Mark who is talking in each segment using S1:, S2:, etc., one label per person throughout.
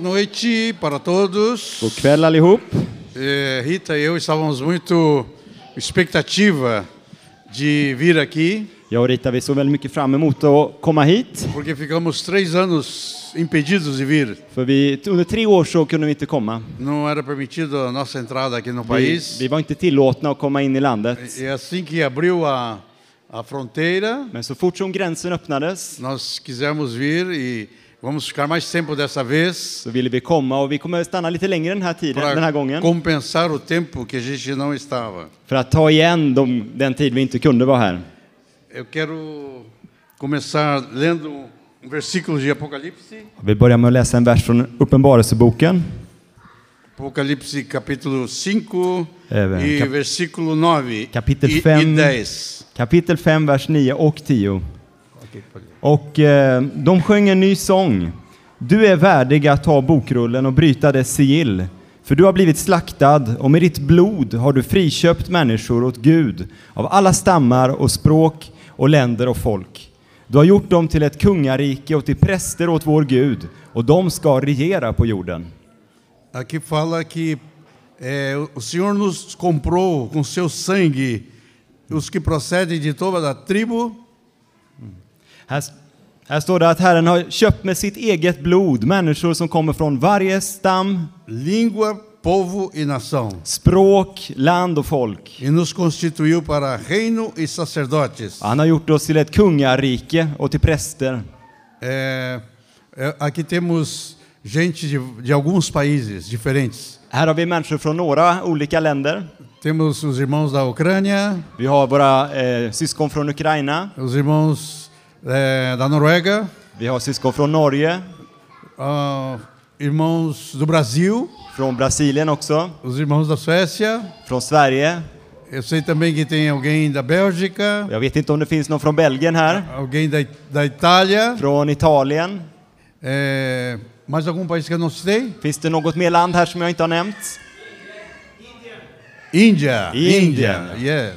S1: noite para todos.
S2: God kväll allihop.
S1: Eh, Rita e eu estávamos muito expectativa de vir aqui,
S2: Jag och Rita vi såg väldigt mycket fram emot att komma hit.
S1: porque ficamos três anos impedidos de vir.
S2: För vi, under tre år så kunde vi inte komma.
S1: Não era permitido a nossa entrada aqui no
S2: Vi,
S1: país.
S2: vi var inte tillåtna att komma in i landet.
S1: E assim que abriu a, a fronteira,
S2: Men så fort som gränsen öppnades
S1: nós quisemos vir e vamos ficar mais tempo dessa vez
S2: så ville vi komma och vi kommer stanna lite längre den här tiden, den
S1: para
S2: här gången.
S1: compensar o tempo que a gente não estava.
S2: För att ta igen de, den tid vi inte kunde vara här.
S1: Eu quero começar lendo um versículo de Apocalipse,
S2: Vi börjar med att läsa en vers från Uppenbarelseboken.
S1: Apocalipse capítulo 5
S2: É, velho,
S1: e
S2: cap-
S1: versículo 9
S2: Capítulo
S1: e, e
S2: fem.
S1: 10.
S2: Kapitel 5, vers 9 och 10. Och eh, de sjöng en ny sång. Du är värdig att ta bokrullen och bryta dess sigill. För du har blivit slaktad och med ditt blod har du friköpt människor åt Gud av alla stammar och språk och länder och folk. Du har gjort dem till ett kungarike och till präster åt vår Gud och de ska regera på jorden.
S1: Aqui fala que é, o Senhor nos comprou com seu sangue os que procedem de toda a tribo,
S2: Här, här står det att Herren har köpt med sitt eget blod människor som kommer från varje stam,
S1: língua, povo e nação.
S2: språk, land och folk.
S1: E nos constituiu para reino e sacerdotes.
S2: Han har gjort oss till ett kungarike och till präster.
S1: É, é, aqui temos gente de, de alguns países diferentes.
S2: Här har vi människor från några olika länder.
S1: Temos os irmãos da Ucrânia,
S2: Vi har våra eh, syskon från Ukraina,
S1: os irmãos é, da Noruega,
S2: vi har syskon från Norge,
S1: ah, irmãos do Brasil,
S2: från Brasilien också,
S1: os irmãos da Suécia.
S2: från Sverige.
S1: Eu sei também que tem alguém da Bélgica,
S2: Jag vet inte om det finns någon från Belgien här,
S1: alguém da, It- da Itália,
S2: från Italien.
S1: é, mais algum país que eu não citei?
S2: Finns det något mer land här som jag inte har nämnt?
S1: Índia.
S2: Índia.
S1: Yes.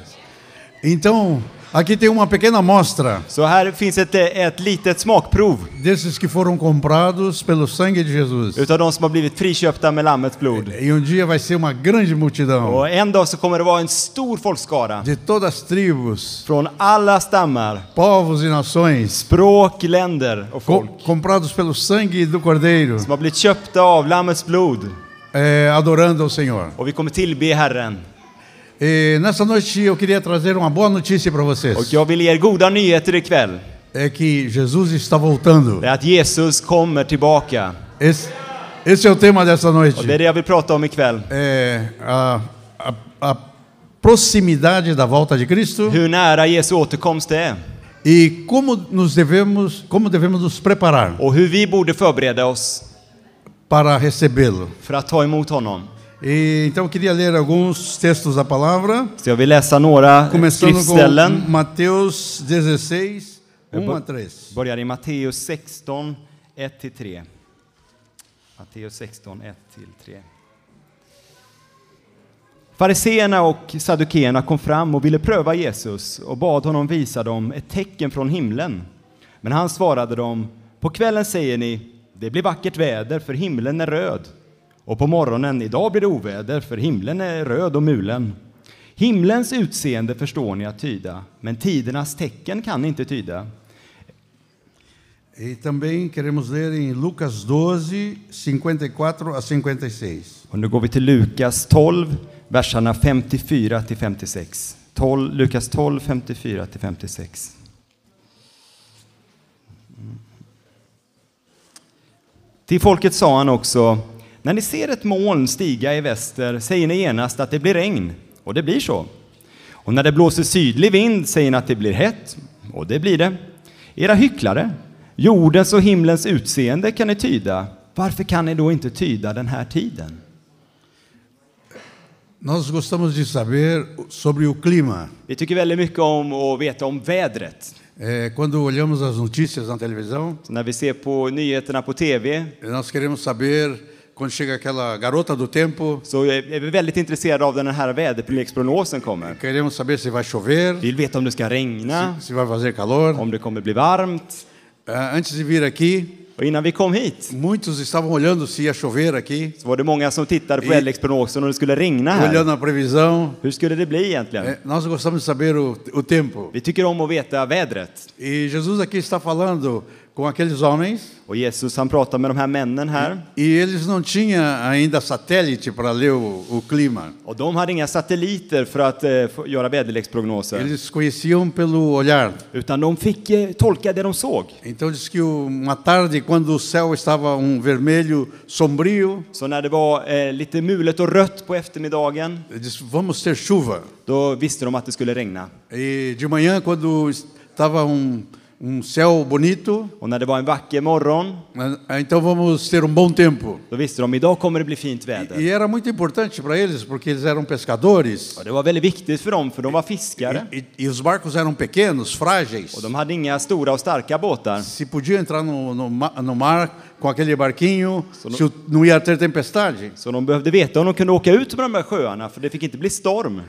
S1: Então, aqui tem uma pequena amostra
S2: Så här finns ett, eh, ett litet smakprov
S1: desses que foram comprados pelo sangue de Jesus.
S2: utav de som har blivit friköpta med Lammets blod.
S1: E um dia vai ser uma grande multidão
S2: Och en dag så kommer det vara en stor folkskara
S1: de todas as tribos,
S2: från alla stammar,
S1: povos e nações,
S2: språk, länder och
S1: co-
S2: folk.
S1: comprados pelo sangue do Cordeiro,
S2: som har blivit köpta av Lammets blod
S1: é, adorando ao Senhor.
S2: och vi kommer tillbe Herren.
S1: E nessa noite eu queria trazer uma boa notícia para
S2: Och
S1: vocês.
S2: jag vill ge er goda nyheter ikväll.
S1: É que Jesus está voltando.
S2: Det är att Jesus kommer tillbaka.
S1: Esse, esse é o tema dessa noite.
S2: Och det är det jag vill prata om ikväll.
S1: É a, a- a proximidade da volta de Cristo
S2: Hur nära Jesu återkomst det är
S1: e como nos devemos, como devemos nos preparar
S2: och hur vi borde förbereda oss
S1: para recebê-lo.
S2: för att ta emot honom.
S1: E, então eu queria ler alguns textos da palavra,
S2: Så jag vill läsa några
S1: começando
S2: skriftställen.
S1: com Mateus 16, 1 a 3.
S2: Börjar i Matteus 16, 1-3. Matteus 16, 1-3. Fariseerna och sadukeerna kom fram och ville pröva Jesus och bad honom visa dem ett tecken från himlen. Men han svarade dem, på kvällen säger ni, det blir vackert väder för himlen är röd. Och på morgonen, idag blir det oväder för himlen är röd och mulen. Himlens utseende förstår ni att tyda, men tidernas tecken kan ni inte tyda.
S1: E também queremos ler em Lucas 12, 54 a 56.
S2: Och nu går vi till Lukas 12, verserna 54 till 56. 12, Lukas 12, 54 till 56. Till folket sa han också, när ni ser ett moln stiga i väster säger ni genast att det blir regn, och det blir så. Och när det blåser sydlig vind säger ni att det blir hett, och det blir det. Era hycklare, jordens och himlens utseende kan ni tyda, varför kan ni då inte tyda den här tiden?
S1: Nós gostamos de saber sobre o clima.
S2: Vi tycker väldigt mycket om att veta om vädret.
S1: É, quando olhamos as notícias na televisão,
S2: Så när vi ser på nyheterna på TV
S1: nós queremos saber quando chega aquela garota do tempo,
S2: så är är vi väldigt intresserade av när den här väderleksprognosen kommer.
S1: queremos saber se vai chover,
S2: Vi vill veta om det ska regna,
S1: se vai fazer calor.
S2: om det kommer bli varmt.
S1: Ah, Antes de vir aqui,
S2: Och innan vi kom hit
S1: Muitos estavam olhando se ia chover aqui,
S2: så var det många som tittade på
S1: I-
S2: väderleksprognosen och det skulle regna här.
S1: olhando a previsão.
S2: Hur skulle det bli egentligen?
S1: É, nós gostamos de saber o, o tempo.
S2: Vi tycker om att veta vädret.
S1: E Jesus aqui está falando com aqueles homens
S2: Och Jesus han pratar med de här männen här.
S1: e eles não tinham ainda satélite para ler o, o clima.
S2: Och de hade inga satelliter för att eh, få- göra väderleksprognoser.
S1: Eles conheciam pelo olhar.
S2: Utan de fick eh, tolka det de såg.
S1: Então diz que o- uma tarde, quando o céu estava um vermelho sombrio,
S2: Så när det var eh, lite mulet och rött på eftermiddagen,
S1: ele disse, vamos ter chuva.
S2: då visste de att det skulle regna.
S1: E de manhã, quando estava um, um céu bonito,
S2: Och när det var en vacker morgon,
S1: ah, então vamos ter um bom tempo.
S2: då visste de idag kommer det bli fint väder.
S1: E era muito importante para eles, porque eles eram pescadores.
S2: Och det var väldigt viktigt för dem, för de var fiskare.
S1: E, e os barcos eram pequenos, frágeis.
S2: Och de hade inga stora och starka båtar.
S1: Se podia entrar no, no, ma- no mar com aquele barquinho, se o- não ia ter tempestade.
S2: Så de behövde veta om de kunde åka ut på de där sjöarna, för det fick inte bli storm.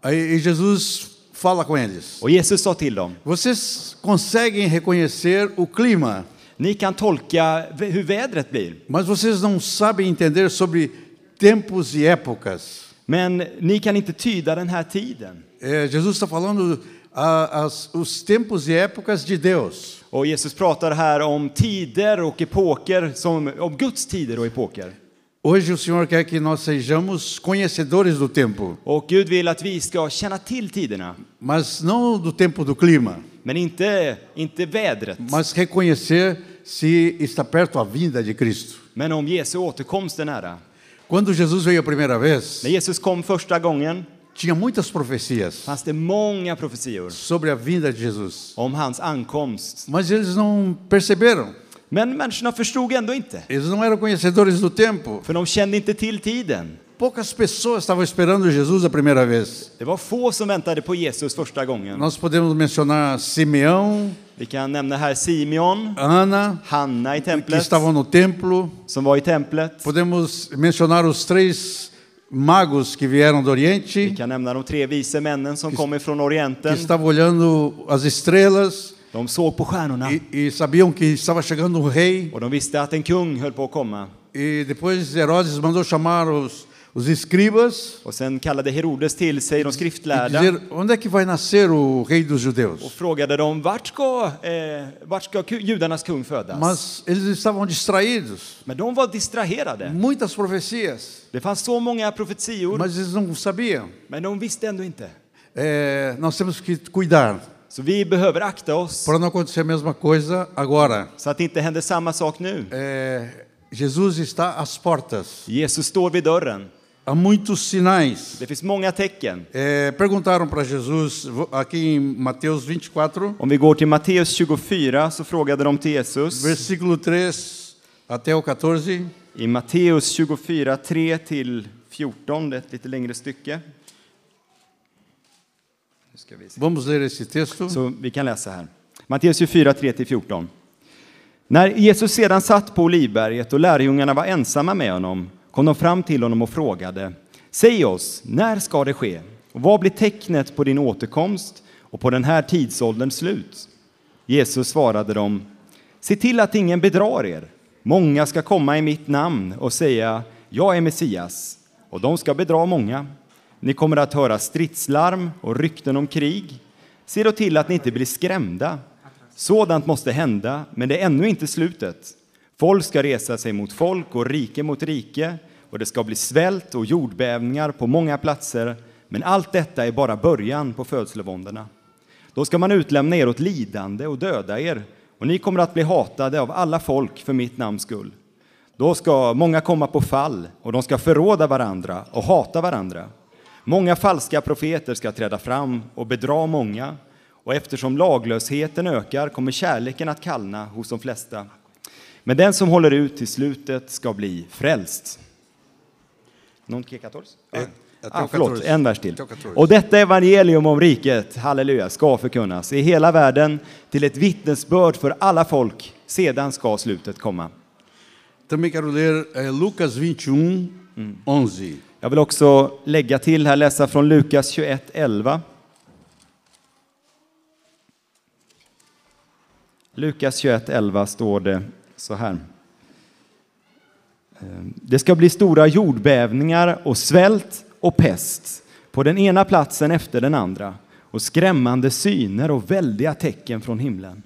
S1: Aí e Jesus fala com eles.
S2: Och Jesus sa till dem,
S1: Vocês conseguem reconhecer o clima,
S2: ni kan tolka v- hur vädret blir,
S1: mas vocês não sabem entender sobre tempos e épocas.
S2: men ni kan inte tyda den här tiden.
S1: É, Jesus está falando a, as, os tempos e épocas de Deus.
S2: Och Jesus pratar här om tider och epoker, som, om Guds tider och epoker.
S1: Hoje o Senhor quer que nós sejamos conhecedores do tempo,
S2: Och Gud vill att vi ska känna till tiderna,
S1: mas não do tempo do clima.
S2: men inte, inte vädret.
S1: mas reconhecer se está perto a vinda de Cristo.
S2: Men om Jesu återkomst är nära.
S1: Quando Jesus veio a primeira vez,
S2: När Jesus kom första gången
S1: tinha muitas profecias
S2: fanns det många profetior
S1: sobre a vinda de Jesus,
S2: om hans ankomst.
S1: mas eles não perceberam.
S2: Men människorna förstod ändå inte,
S1: Eles não eram conhecedores do tempo.
S2: för de kände inte till tiden.
S1: Poucas pessoas estavam esperando Jesus a primeira vez.
S2: Det var få som väntade på Jesus första gången.
S1: Nós podemos mencionar Simeão,
S2: Vi kan nämna här Simeon,
S1: Ana,
S2: Hanna i
S1: que
S2: templet,
S1: estavam no templo.
S2: som var i templet.
S1: Podemos mencionar os três magos que vieram do Oriente,
S2: Vi kan nämna de tre vise männen som kom ifrån
S1: que
S2: Orienten.
S1: estavam olhando as estrelas
S2: De såg på stjärnorna
S1: e, e sabiam que estava chegando um rei.
S2: och de visste att en kung höll på att komma.
S1: E depois Herodes mandou chamar os, os escribas
S2: Och sen kallade Herodes till sig de
S1: e
S2: skriftlärda
S1: dizer onde é que vai nascer o rei dos
S2: och
S1: judeus.
S2: frågade dem vart ska, eh, vart ska ku- judarnas kung födas?
S1: Mas eles estavam distraídos,
S2: Men de var distraherade.
S1: muitas profecias,
S2: Det fanns så många profetior,
S1: mas eles não sabiam.
S2: men de visste ändå inte.
S1: É, nós temos que cuidar
S2: Så vi behöver akta oss
S1: para não acontecer a mesma coisa agora.
S2: så att det inte händer samma sak nu.
S1: É, Jesus está às portas,
S2: Jesus står vid dörren.
S1: há muitos sinais.
S2: Det finns många tecken.
S1: É, perguntaram para Jesus, vo- aqui em Mateus 24,
S2: Om vi går till Matteus 24 så frågade de till Jesus
S1: versículo 3 até o 14.
S2: i Matteus 24, 3 till 14, det är ett lite längre stycke. Nu ska vi se.
S1: Vamos ler esse texto.
S2: Så vi kan läsa här. Matteus 24, 3-14. När Jesus sedan satt på Olivberget och lärjungarna var ensamma med honom kom de fram till honom och frågade Säg oss, när ska det ske? Och vad blir tecknet på din återkomst och på den här tidsålderns slut? Jesus svarade dem Se till att ingen bedrar er. Många ska komma i mitt namn och säga Jag är Messias och de ska bedra många. Ni kommer att höra stridslarm och rykten om krig. Se då till att ni inte blir skrämda. Sådant måste hända, men det är ännu inte slutet. Folk ska resa sig mot folk och rike mot rike och det ska bli svält och jordbävningar på många platser. Men allt detta är bara början på födslovåndorna. Då ska man utlämna er åt lidande och döda er och ni kommer att bli hatade av alla folk för mitt namns skull. Då ska många komma på fall och de ska förråda varandra och hata varandra. Många falska profeter ska träda fram och bedra många och eftersom laglösheten ökar kommer kärleken att kallna hos de flesta. Men den som håller ut till slutet ska bli frälst. Någon kekators? Ja.
S1: jag tar
S2: Ah, förlåt,
S1: katolsk.
S2: en vers till.
S1: Jag tar katolsk.
S2: Och detta evangelium om riket, halleluja, ska förkunnas i hela världen till ett vittnesbörd för alla folk. Sedan ska slutet komma.
S1: Também quero ler eh, Lucas 21, 11.
S2: Jag vill också lägga till här, läsa från Lukas 21, 11. Lukas 21, 11 står det. så här. Eh, Det ska bli stora jordbävningar och svält och pest på den ena platsen efter den andra och skrämmande syner och väldiga tecken från himlen.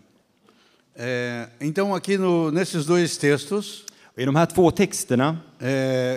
S1: É, então, aqui no- nesses dois textos,
S2: I de här två texterna
S1: é,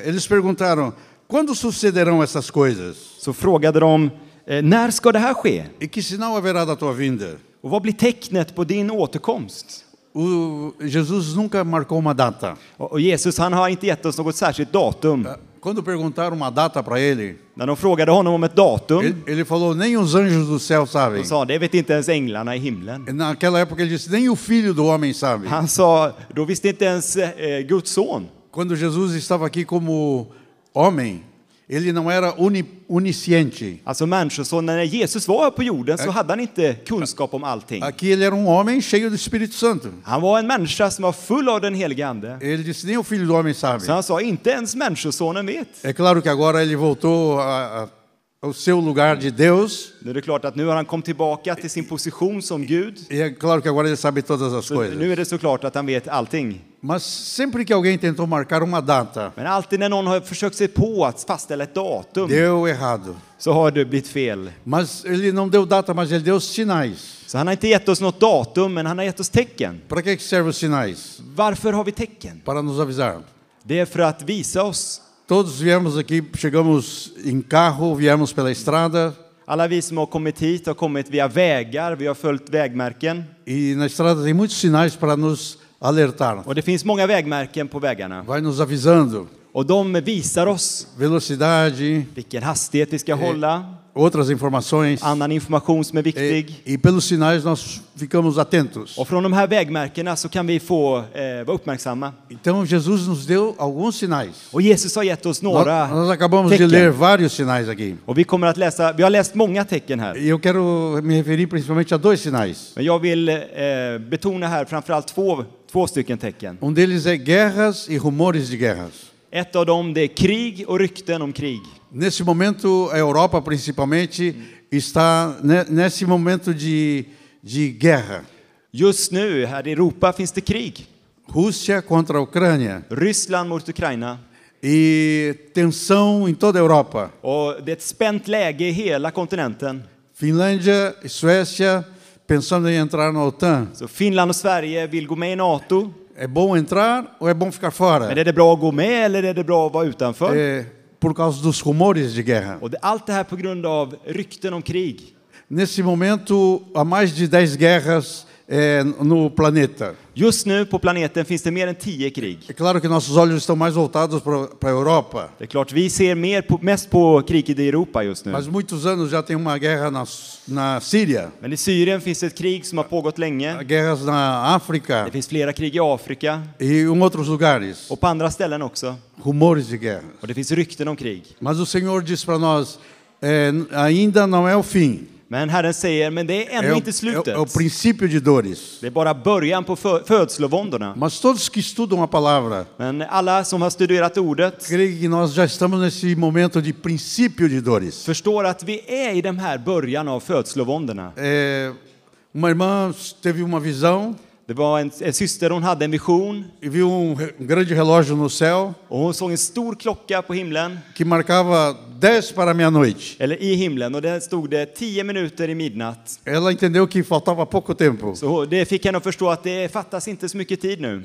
S1: eles perguntaram: quando sucederão essas coisas?
S2: så frågade de eh, när ska det här ske?
S1: E que sinal haverá da tua vinda?
S2: Och vad blir tecknet på din återkomst?
S1: O, Jesus nunca marcou uma data.
S2: Och och Jesus han har inte gett oss något särskilt datum.
S1: Quando perguntaram uma data para ele,
S2: När de frågade honom om ett datum
S1: ele, ele falou: nem os anjos do céu sabem.
S2: så sa han, det vet inte ens änglarna i himlen.
S1: Naquela época ele disse: nem o filho do homem sabe.
S2: Han sa, då visste inte ens eh, Guds son.
S1: Quando Jesus estava aqui como homem, ele não era uni, onisciente.
S2: Alltså människosonen, när Jesus var här på jorden så hade han inte kunskap om allting.
S1: Aqui ele era um homem cheio do Espírito Santo.
S2: Han var en människa som var full av den helige ande.
S1: Ele disse: nem o filho do homem sabe.
S2: Så han sa, inte ens människosonen vet.
S1: É claro que agora ele voltou a- a- ao seu lugar de Deus,
S2: Nu är det klart att nu har han kommit tillbaka till sin position som Gud.
S1: e é claro que agora ele sabe todas as
S2: Så
S1: coisas.
S2: nu är det såklart att han vet allting.
S1: Mas sempre que alguém tentou marcar uma data,
S2: Men alltid när någon har försökt sig på att fastställa ett datum
S1: deu errado.
S2: så har det blivit fel.
S1: Mas ele não deu data, mas ele deu sinais.
S2: Så han har inte gett oss något datum, men han har gett oss tecken.
S1: Para que que servem os sinais?
S2: Varför har vi tecken?
S1: Para nos avisar.
S2: Det är för att visa oss.
S1: Todos viemos aqui, chegamos em carro, viemos pela estrada,
S2: Alla vi som har kommit hit har kommit via vägar, vi har följt vägmärken.
S1: e na estrada tem muitos sinais para nos alertar.
S2: Och det finns många vägmärken på vägarna.
S1: Vai nos avisando.
S2: Och de visar oss
S1: Velocidade,
S2: vilken hastighet vi ska hålla,
S1: outras informações.
S2: annan information som är viktig.
S1: E, e pelos sinais nós ficamos atentos.
S2: Och från de här vägmärkena så kan vi få eh, vara uppmärksamma.
S1: Então Jesus nos deu alguns sinais.
S2: Och Jesus har gett oss
S1: Nós,
S2: några
S1: nós acabamos de ler
S2: tecken.
S1: vários sinais aqui.
S2: Och vi kommer att läsa, vi har läst många tecken här.
S1: E eu quero me referir principalmente a dois sinais.
S2: Men jag vill eh, betona här framförallt två, två stycken tecken.
S1: Um deles é guerras e rumores de guerras.
S2: Ett av dem det är krig och rykten om krig.
S1: Nesse momento, a Europa principalmente está ne- nesse momento de, de guerra.
S2: Just nu här i Europa finns det krig.
S1: Rússia contra a Ucrânia
S2: Ryssland mot Ukraina.
S1: e tensão em toda a Europa.
S2: Och det är ett spänt läge i hela kontinenten.
S1: Finlândia e Suécia pensando em entrar na OTAN.
S2: Så Finland och Sverige vill gå med i NATO.
S1: É bom entrar ou é bom ficar fora?
S2: Men är det bra att gå med eller är det bra att vara utanför?
S1: É, por causa dos rumores de guerra.
S2: Och det, allt det här på grund av rykten om krig.
S1: Nesse momento, há mais de 10 guerras é, no planeta.
S2: Just nu på planeten finns det mer än tio krig.
S1: É claro que nossos olhos estão mais voltados para a Europa,
S2: Det är klart, vi ser mer på, mest på kriget i Europa just nu.
S1: mas muitos anos já tem uma guerra na, S- na Síria,
S2: Men i Syrien finns ett krig som har pågått
S1: há
S2: länge.
S1: guerras na África
S2: Det finns flera krig i Afrika
S1: e em outros lugares.
S2: och på andra ställen också.
S1: Rumores de guerra.
S2: Och det finns rykten om krig.
S1: Mas o Senhor diz para nós: é, n- ainda não é o fim,
S2: Men Herren säger, men det är
S1: é
S2: ännu
S1: o,
S2: inte slutet.
S1: é o- é o princípio de dores.
S2: Det är bara början på fö- födslovåndorna.
S1: Mas todos que estudam a palavra
S2: Men alla som har studerat ordet
S1: creio que nós já estamos nesse momento de princípio de dores.
S2: förstår att vi är i den här början av födslovåndorna.
S1: É, uma irmã teve uma visão
S2: Det var en, en syster, hon hade en vision
S1: e viu um, re- um grande relógio no céu
S2: och hon såg en stor klocka på himlen,
S1: que marcava 10 para a meia-noite.
S2: eller i himlen, och där stod det 10 minuter i midnatt.
S1: Ela entendeu que faltava pouco tempo.
S2: Så det fick henne att förstå att det fattas inte så mycket tid nu.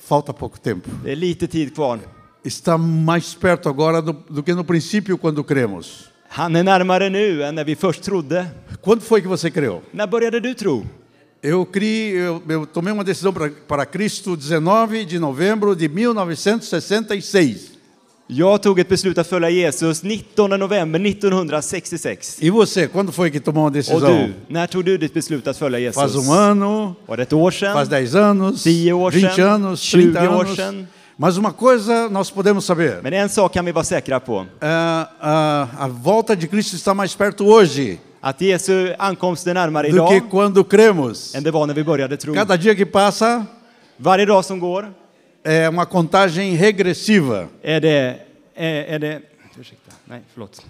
S1: Falta pouco tempo.
S2: Det är lite tid kvar.
S1: Está mais perto agora do, do que no princípio quando cremos.
S2: Han är närmare nu än när vi först trodde.
S1: Quando foi que você creu?
S2: När började du tro?
S1: Eu, criei, eu, eu tomei uma decisão para, para Cristo 19 de novembro de 1966.
S2: Jag tog ett beslut att följa Jesus 19 november 1966.
S1: E você, quando foi que tomou uma
S2: Och du,
S1: decisão?
S2: när tog du ditt beslut att följa Jesus?
S1: Faz um ano,
S2: Var det ett år
S1: faz
S2: sedan?
S1: 10 anos,
S2: Tio år
S1: 20
S2: sedan,
S1: anos,
S2: 20
S1: 30
S2: år
S1: anos.
S2: sedan.
S1: Mas uma coisa nós podemos saber:
S2: Men en sak kan vi vara säkra på.
S1: Ah, ah, a volta de Cristo está mais perto hoje
S2: Att Jesu ankomst är närmare
S3: Então?
S1: do que
S2: idag
S1: quando cremos.
S3: É
S2: än det var när vi började tro.
S1: Cada dia que passa
S2: Varje dag som går
S1: é uma contagem regressiva.
S2: är det... Är, är det ursäkta, nej, förlåt.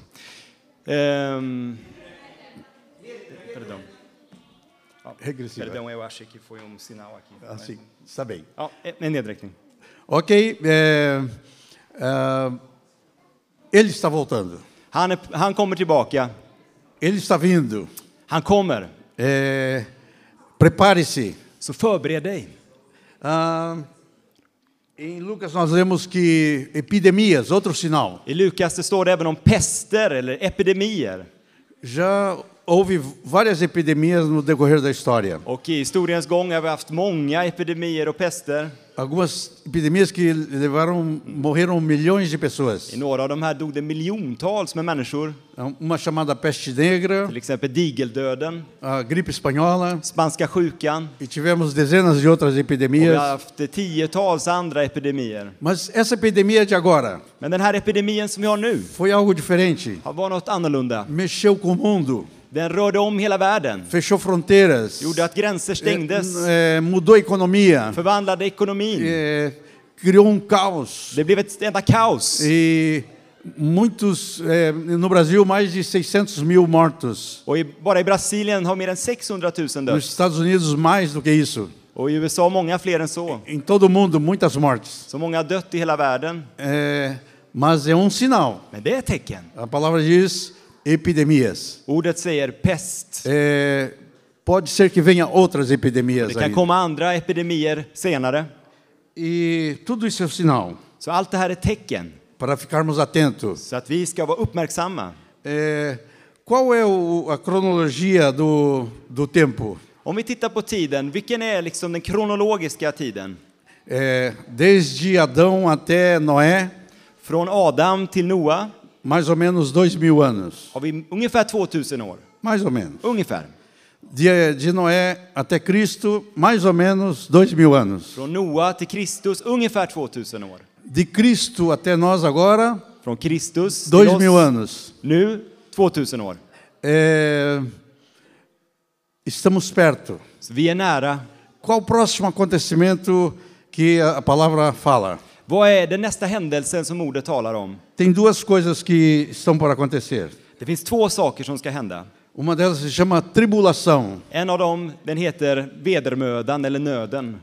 S2: Ehm,
S3: regressiva.
S2: Perdão, eu achei que foi um sinal aqui.
S3: Ah, sim, está bem.
S2: Ja, en nedräkning.
S1: Ok. é, ah, ele está voltando.
S2: Han, är, han kommer tillbaka.
S1: Ele está vindo.
S2: Han kommer.
S1: É, Prepare-se.
S2: Så förbered dig.
S1: Ah, em Lucas nós lemos que epidemias, outro sinal.
S2: I Lukas det står det även om pester eller epidemier.
S1: Já houve várias epidemias no decorrer da história.
S2: Och i historiens gång har vi haft många epidemier och pester.
S1: Algumas epidemias que levaram, morreram milhões de pessoas.
S2: I några av de här dog det miljontals med människor.
S1: Uma chamada peste negra,
S2: Till exempel digeldöden,
S1: a gripe espanhola,
S2: spanska sjukan.
S1: e tivemos dezenas de outras
S2: Och vi
S1: epidemias.
S2: har haft tiotals andra epidemier.
S1: Mas essa epidemia de agora
S2: Men den här epidemin som vi har nu
S1: foi algo diferente.
S2: har varit något annorlunda.
S1: Mexeu com o mundo,
S2: Den rörde om hela världen.
S1: fechou fronteiras,
S2: Gjorde att gränser stängdes.
S1: eh, eh, mudou a economia,
S2: Förvandlade ekonomin.
S1: eh, criou um caos.
S2: Det blev ett enda kaos.
S1: E muitos, eh, no Brasil, mais de 600 mil mortos.
S2: Och i, bara i Brasilien har mer än 600 000
S1: Nos
S2: dött.
S1: Estados Unidos, mais do que isso.
S2: Och i USA många fler än så.
S1: Em todo o mundo, muitas mortes.
S2: Så många har dött i hela världen.
S1: É, mas é um sinal.
S2: Men det är ett tecken.
S1: A palavra diz epidemias.
S2: Ordet säger pest.
S1: É, pode ser que venha outras epidemias
S2: Det kan
S1: ainda.
S2: komma andra epidemier senare.
S1: E tudo isso é um sinal
S2: Så allt det här är tecken.
S1: para ficarmos atentos.
S2: Så att vi ska vara uppmärksamma.
S1: É, qual é o- a cronologia do, do tempo?
S2: Om vi tittar på tiden, vilken är liksom den kronologiska tiden?
S1: É, desde Adão até Noé,
S2: Från Adam till Noa
S1: mais ou menos dois mil anos.
S2: har vi ungefär 2000 år.
S1: Mais ou menos.
S2: Ungefär.
S1: De, de Noé até Cristo, mais ou menos dois mil anos.
S2: Från Noa till Kristus, ungefär 2000 år.
S1: De Cristo até nós agora,
S2: Från Kristus till
S1: dois mil
S2: oss,
S1: anos.
S2: nu 2000 år.
S1: É, estamos perto.
S2: Så vi är nära.
S1: Qual o próximo acontecimento que a a palavra fala?
S2: Vad är den nästa händelsen som ordet talar om?
S1: Tem duas coisas que estão por acontecer.
S2: Det finns två saker som ska hända.
S1: Uma delas se chama tribulação.
S2: En av dem, den heter vedermödan eller nöden.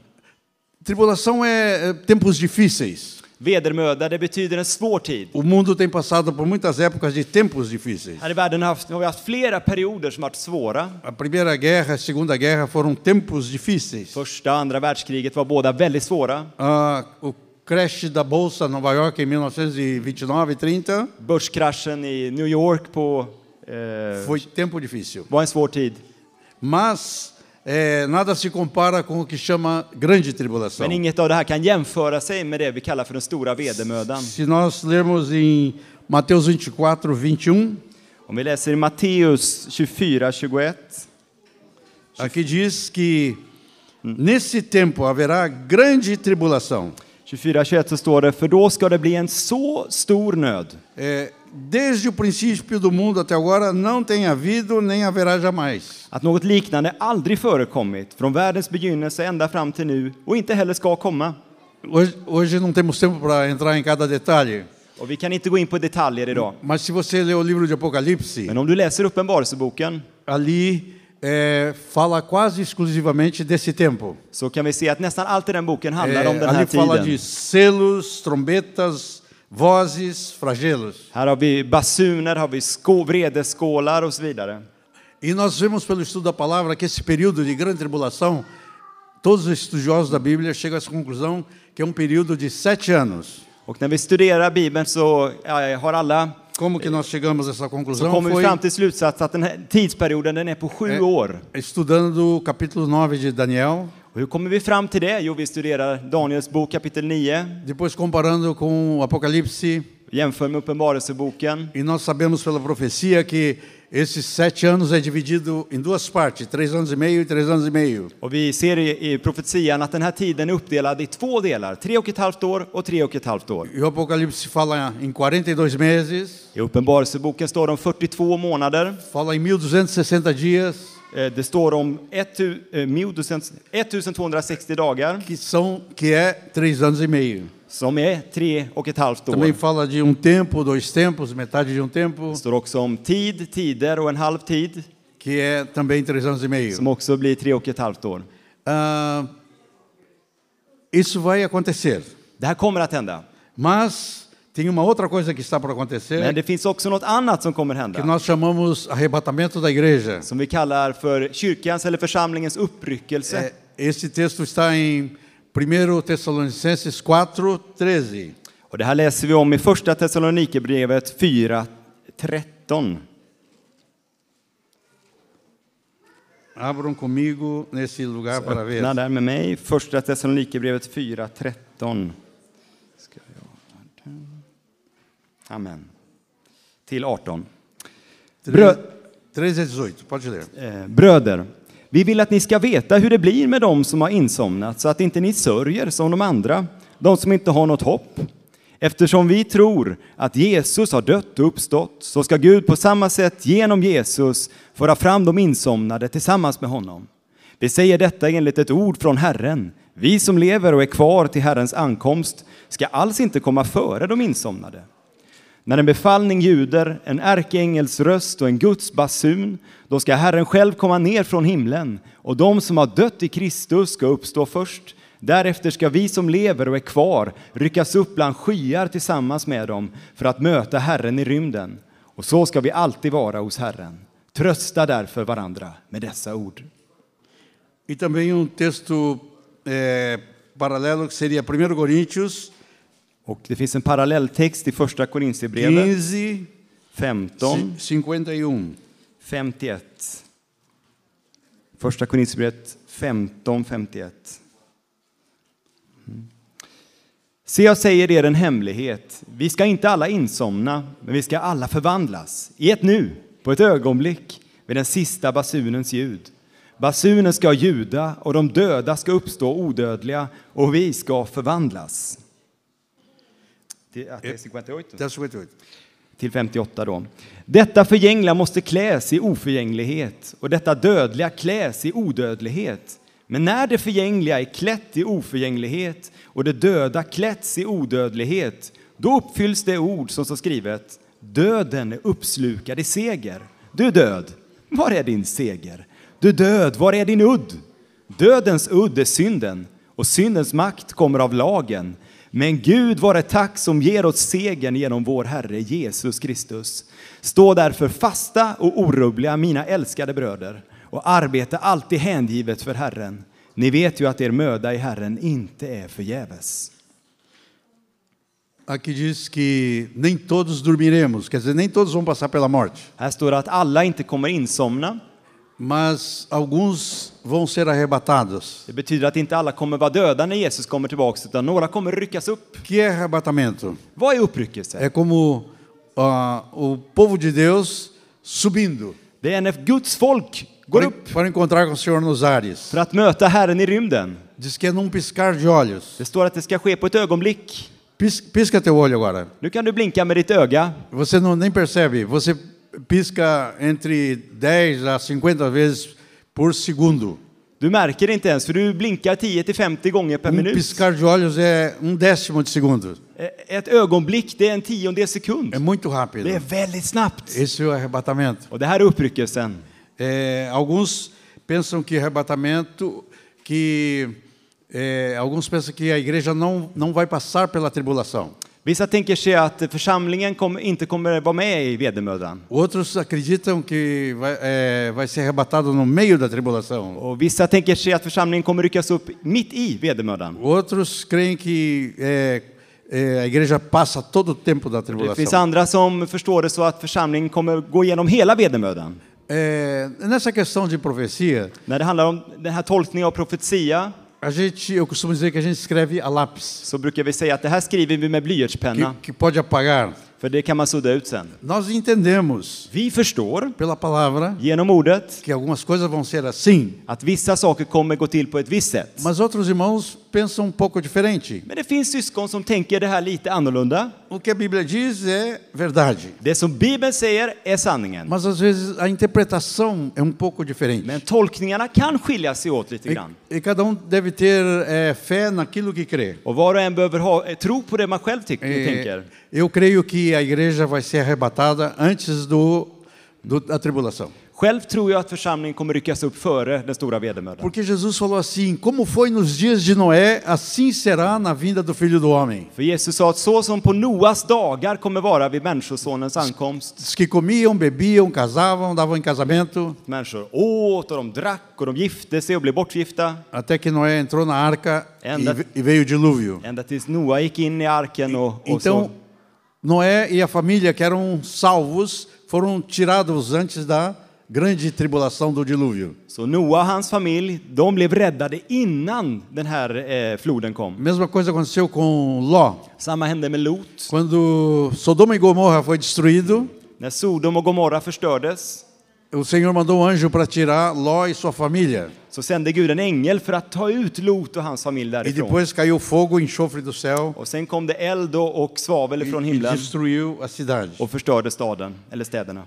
S1: Tribulação é é, tempos difíceis.
S2: Vedermöda, det betyder en svår tid.
S1: O mundo tem passado por muitas épocas de tempos difíceis.
S2: Här i världen har haft- har vi haft flera perioder som varit svåra.
S1: A Primeira Guerra, a Segunda Guerra foram tempos difíceis.
S2: Första och andra världskriget var båda väldigt svåra.
S1: Ah, o crash da Bolsa em Nova York em 1929 e 30
S2: Börskraschen i New York på, eh,
S1: foi tempo difícil.
S2: var en svår tid.
S1: Mas eh, nada se compara com o que chama grande tribulação.
S2: Men inget av det här kan jämföra sig med det vi kallar för den stora vedermödan.
S1: Se nós lermos em Mateus 24, 21,
S2: Om vi läser i Matteus 24, 21.
S1: aqui diz que nesse tempo haverá grande tribulação.
S2: 24, 21 så står det, för då ska det bli en så stor nöd.
S1: É, desde o princípio do mundo até agora não tem havido nem haverá jamais.
S2: Att något liknande aldrig förekommit från världens begynnelse ända fram till nu och inte heller ska komma.
S1: Hoje, hoje não temos tempo para entrar em cada detalhe,
S2: Och vi kan inte gå in på detaljer idag.
S1: mas se você ler o livro de Apocalipse,
S2: Men om du läser Uppenbarelseboken
S1: ali é, fala quase exclusivamente desse tempo.
S2: så kan vi se att nästan allt i den boken handlar
S1: É,
S2: om den här
S1: ali fala de
S2: tiden.
S1: selos, trombetas, vozes, flagelos.
S2: Här har vi basuner, har vi skå- vredeskålar och så vidare.
S1: E nós vemos pelo estudo da palavra que esse período de grande tribulação, todos os estudiosos da Bíblia chegam a essa conclusão que é um período de sete anos.
S2: Och när vi studerar Bibeln så eh, har alla
S1: Como que nós chegamos a essa
S2: så
S1: conclusão?
S2: kommer vi
S1: Foi
S2: fram till slutsatsen att den här tidsperioden den är på sju år.
S1: estudando o capítulo 9 de Daniel,
S2: Och hur kommer vi fram till det? Jo, vi studerar Daniels bok kapitel 9,
S1: depois comparando com o Apocalipse,
S2: jämför med Uppenbarelseboken.
S1: e nós sabemos pela profecia que esses sete anos é dividido em duas partes, três anos e meio e três anos e meio.
S2: Och vi ser i, i profetian att den här tiden är uppdelad i två delar, tre och ett halvt år och tre och ett halvt år.
S1: E o Apocalipse fala em 42 meses,
S2: I Uppenbarelseboken står det om 42 månader.
S1: fala em 1260 dias,
S2: Eh, Det står om 1 tu- eh, 1000 1260 dagar
S1: que são que é três anos e meio.
S2: som är tre och ett halvt år.
S1: Também fala de um tempo, dois tempos, metade de um tempo,
S2: Det står också om tid, tider och en halv tid.
S1: que é também três anos e meio.
S2: som också blir tre och ett halvt år.
S1: Ah, isso vai acontecer.
S2: Det här kommer att hända.
S1: Mas tem uma outra coisa que está para acontecer,
S2: Men det finns också något annat som kommer
S1: que
S2: hända.
S1: nós chamamos arrebatamento da igreja.
S2: Som vi kallar för kyrkans eller församlingens uppryckelse.
S1: É, esse texto está em 1 Tessalonicenses 4, 13.
S2: Och det här läser vi om i första Thessalonikerbrevet 4.13.
S1: Abram comigo nesse lugar para ver.
S2: Öppna där med mig. Första Thessalonikerbrevet 4.13. Ska jag- Amen. Till 18. Brö-
S1: 13 a 18, pode ler.
S2: Eh, Bröder, vi vill att ni ska veta hur det blir med dem som har insomnat så att inte ni sörjer som de andra, de som inte har något hopp. Eftersom vi tror att Jesus har dött och uppstått så ska Gud på samma sätt genom Jesus föra fram de insomnade tillsammans med honom. Vi säger detta enligt ett ord från Herren. Vi som lever och är kvar till Herrens ankomst ska alls inte komma före de insomnade. När en befallning ljuder, en ärkeängels röst och en Guds basun, då ska Herren själv komma ner från himlen och de som har dött i Kristus ska uppstå först. Därefter ska vi som lever och är kvar ryckas upp bland skyar tillsammans med dem för att möta Herren i rymden. Och så ska vi alltid vara hos Herren. Trösta därför varandra med dessa ord.
S1: E também um texto eh, paralelo que seria 1 Coríntios
S2: Och det finns en parallelltext i Första Korinthierbrevet
S1: 15,
S2: 15.
S1: 51.
S2: 51. Första Korinthierbrevet 15, 51. Mm. Se, jag säger er en hemlighet. Vi ska inte alla insomna, men vi ska alla förvandlas. I ett nu, på ett ögonblick, vid den sista basunens ljud. Basunen ska ljuda och de döda ska uppstå odödliga och vi ska förvandlas. Det- att det är 58.
S1: Até 58.
S2: Till 58 då. Detta förgängliga måste kläs i oförgänglighet och detta dödliga kläs i odödlighet. Men när det förgängliga är klätt i oförgänglighet och det döda klätts i odödlighet, då uppfylls det ord som står skrivet. Döden är uppslukad i seger. Du död, var är din seger? Du död, var är din udd? Dödens udd är synden och syndens makt kommer av lagen. Men Gud vare tack som ger oss segern genom vår Herre Jesus Kristus. Stå därför fasta och orubbliga, mina älskade bröder, och arbeta alltid hängivet för Herren. Ni vet ju att er möda i Herren inte är förgäves.
S1: Aqui diz que nem todos dormiremos, quer dizer, nem todos vão passar pela morte,
S2: Här står det att alla inte kommer insomna.
S1: mas alguns vão ser arrebatados.
S2: Det betyder att inte alla kommer vara döda när Jesus kommer tillbaka, utan några kommer ryckas upp.
S1: O que é arrebatamento?
S2: Vad är uppryckelse?
S1: É como ah, o povo de Deus subindo
S2: Det är när Guds folk går
S1: para,
S2: upp
S1: para encontrar com o Senhor nos ares.
S2: för att möta Herren i rymden.
S1: Diz que é num piscar de olhos.
S2: Det står att det ska ske på ett ögonblick.
S1: Pis- Pisca teu olho agora.
S2: Nu kan du blinka med ditt öga.
S1: Você não nem percebe, você pisca entre 10 a 50 vezes por segundo.
S2: Du märker det inte ens, för du blinkar 10-50 gånger per
S1: Um
S2: minut.
S1: piscar de olhos é um décimo de segundo.
S2: E- Ett ögonblick, det är en tiondel
S1: É
S2: sekund.
S1: muito rápido.
S2: Det är väldigt snabbt.
S1: Esse é o arrebatamento.
S2: Och det här är uppryckelsen.
S1: É, alguns pensam que arrebatamento, que é, alguns pensam que a igreja não não vai passar pela tribulação.
S2: Vissa tänker sig att församlingen kom, inte kommer vara med i vedermödan.
S1: Outros acreditam que vai, é, vai ser arrebatado no meio da tribulação.
S2: Och vissa tänker sig att församlingen kommer ryckas upp mitt i vedermödan.
S1: Outros creem que é, é, a igreja passa todo o tempo da
S2: Det finns
S1: tribulação.
S2: andra som förstår det så att församlingen kommer gå igenom hela vedermödan.
S1: É, nessa questão de profecia,
S2: När det handlar om den här tolkningen av profetia
S1: a gente, eu costumo dizer que a gente escreve a lápis,
S2: så brukar vi säga att det här skriver vi med blyertspenna,
S1: que, que pode apagar.
S2: för det kan man sudda ut sen.
S1: Nós entendemos
S2: Vi förstår
S1: pela palavra
S2: genom ordet
S1: que algumas coisas vão ser assim,
S2: att vissa saker kommer gå till på ett visst sätt.
S1: mas outros irmãos pensam um pouco diferente.
S2: Men det finns syskon som tänker det här lite annorlunda.
S1: O que a Bíblia diz é verdade,
S2: Det som Bibeln säger är sanningen.
S1: mas às vezes a interpretação é um pouco diferente.
S2: Men tolkningarna kan skilja sig åt lite grann.
S1: E, e cada um deve ter eh, fé naquilo que crê.
S2: Och var och en behöver ha, eh, tro på det man själv tycker,
S1: Eh,
S2: tänker.
S1: eu creio que a igreja vai ser arrebatada antes do, do da tribulação.
S2: Själv tror jag att församlingen kommer ryckas upp före den stora vedermödan.
S1: Porque Jesus falou assim: Como foi nos dias de Noé, assim será na vinda do filho do homem.
S2: För Jesus sa att så som på Noas dagar kommer vara vid Människosonens ankomst.
S1: Os que comiam, bebiam, casavam, davam em casamento,
S2: Människor åt och de drack och de gifte sig och blev bortgifta.
S1: até que Noé entrou na arca
S2: Anda-
S1: e, e veio o dilúvio.
S2: Ända tills Noa gick in i arken och, och så.
S1: Então, Noé e a família que eram salvos foram tirados antes da grande tribulação do dilúvio.
S2: Så Noa och hans familj, de blev räddade innan den här eh, floden kom.
S1: Mesma coisa aconteceu com Ló.
S2: Samma hände med Lot.
S1: Quando Sodoma e Gomorra foi destruído,
S2: När Sodom och Gomorra förstördes
S1: o Senhor mandou um anjo para tirar Ló e sua família.
S2: så sände Gud en ängel för att ta ut Lot och hans familj
S1: E
S2: därifrån.
S1: depois caiu fogo, enxofre do céu
S2: Och sen kom det eld och och svavel från
S1: e
S2: himlen
S1: destruiu a cidade.
S2: och förstörde staden, eller städerna.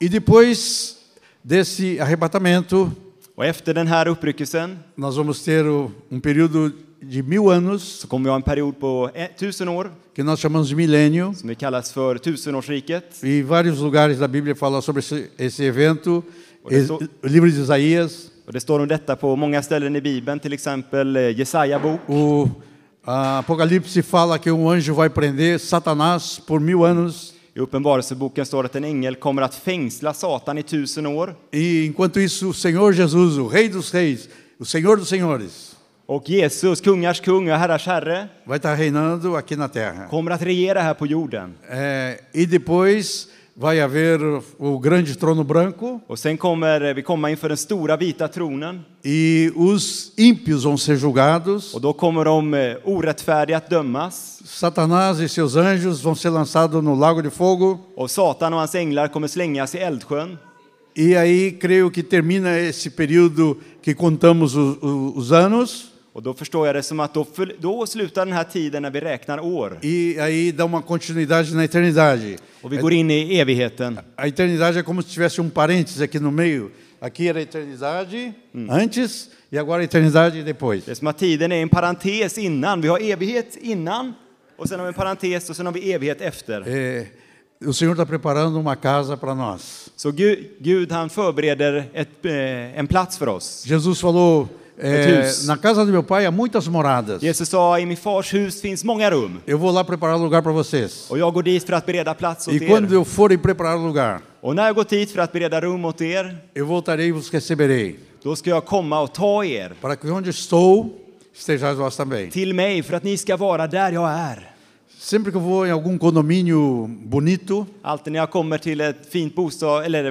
S1: E depois desse arrebatamento,
S2: Och efter den här uppryckelsen
S1: nós vamos ter o- um período de mil anos,
S2: så kommer vi ha en period på eh, tusen år,
S1: que nós chamamos de milênio,
S2: som det kallas för tusenårsriket.
S1: e vários lugares da Bíblia falam sobre esse, esse evento.
S2: Olha,
S1: E-
S2: tô-
S1: O livro de Isaías,
S2: Och det står om detta på många ställen i Bibeln, till exempel eh, Jesaja bok.
S1: o a Apocalipse fala que um anjo vai prender Satanás por mil anos.
S2: I Uppenbarelseboken står att en ängel kommer att fängsla Satan i tusen år.
S1: E enquanto isso, o Senhor Jesus, o Rei dos Reis, o Senhor dos Senhores,
S2: Och Jesus, kungars kung och herrars herre,
S1: vai estar reinando aqui na terra.
S2: kommer att regera här på jorden.
S1: É, e depois vai haver o grande trono branco
S2: Och sen kommer eh, vi komma inför den stora vita tronen
S1: e os ímpios vão ser julgados.
S2: och då kommer de eh, orättfärdiga att dömas
S1: Satanás e seus anjos vão ser lançados no lago de fogo.
S2: och Satan och hans änglar kommer slängas i eldsjön.
S1: E aí creio que termina esse período que contamos o- o- os anos
S2: Och då förstår jag det som att då, för, då slutar den här tiden när vi räknar år
S1: e aí dá uma continuidade na eternidade.
S2: och vi går in i evigheten.
S1: A eternidade é como se tivesse um parênteses aqui no meio. Aqui era a eternidade antes e agora a eternidade depois.
S2: Det är som att tiden är en parentes innan. Vi har evighet innan och sen har vi en parentes och sen har vi evighet efter.
S1: É, o Senhor está preparando uma casa para nós.
S2: Så Gud, Gud han förbereder ett, eh, en plats för oss.
S1: Jesus falou: é,
S2: Mateus.
S1: na casa do meu pai há muitas moradas.
S2: Jesus sa i min fars hus finns många rum
S1: Eu vou lá preparar lugar para vocês.
S2: och jag går dit för att bereda plats åt
S1: E quando
S2: er.
S1: eu for e preparar lugar,
S2: Och när jag går dit för att bereda rum åt er,
S1: eu voltarei e vos receberei,
S2: då ska jag komma och ta er
S1: para que onde estou estejais vós também.
S2: till mig för att ni ska vara där jag är.
S1: Sempre que eu vou em algum condomínio bonito,
S2: Alltid när jag kommer till ett fint bostad, eller,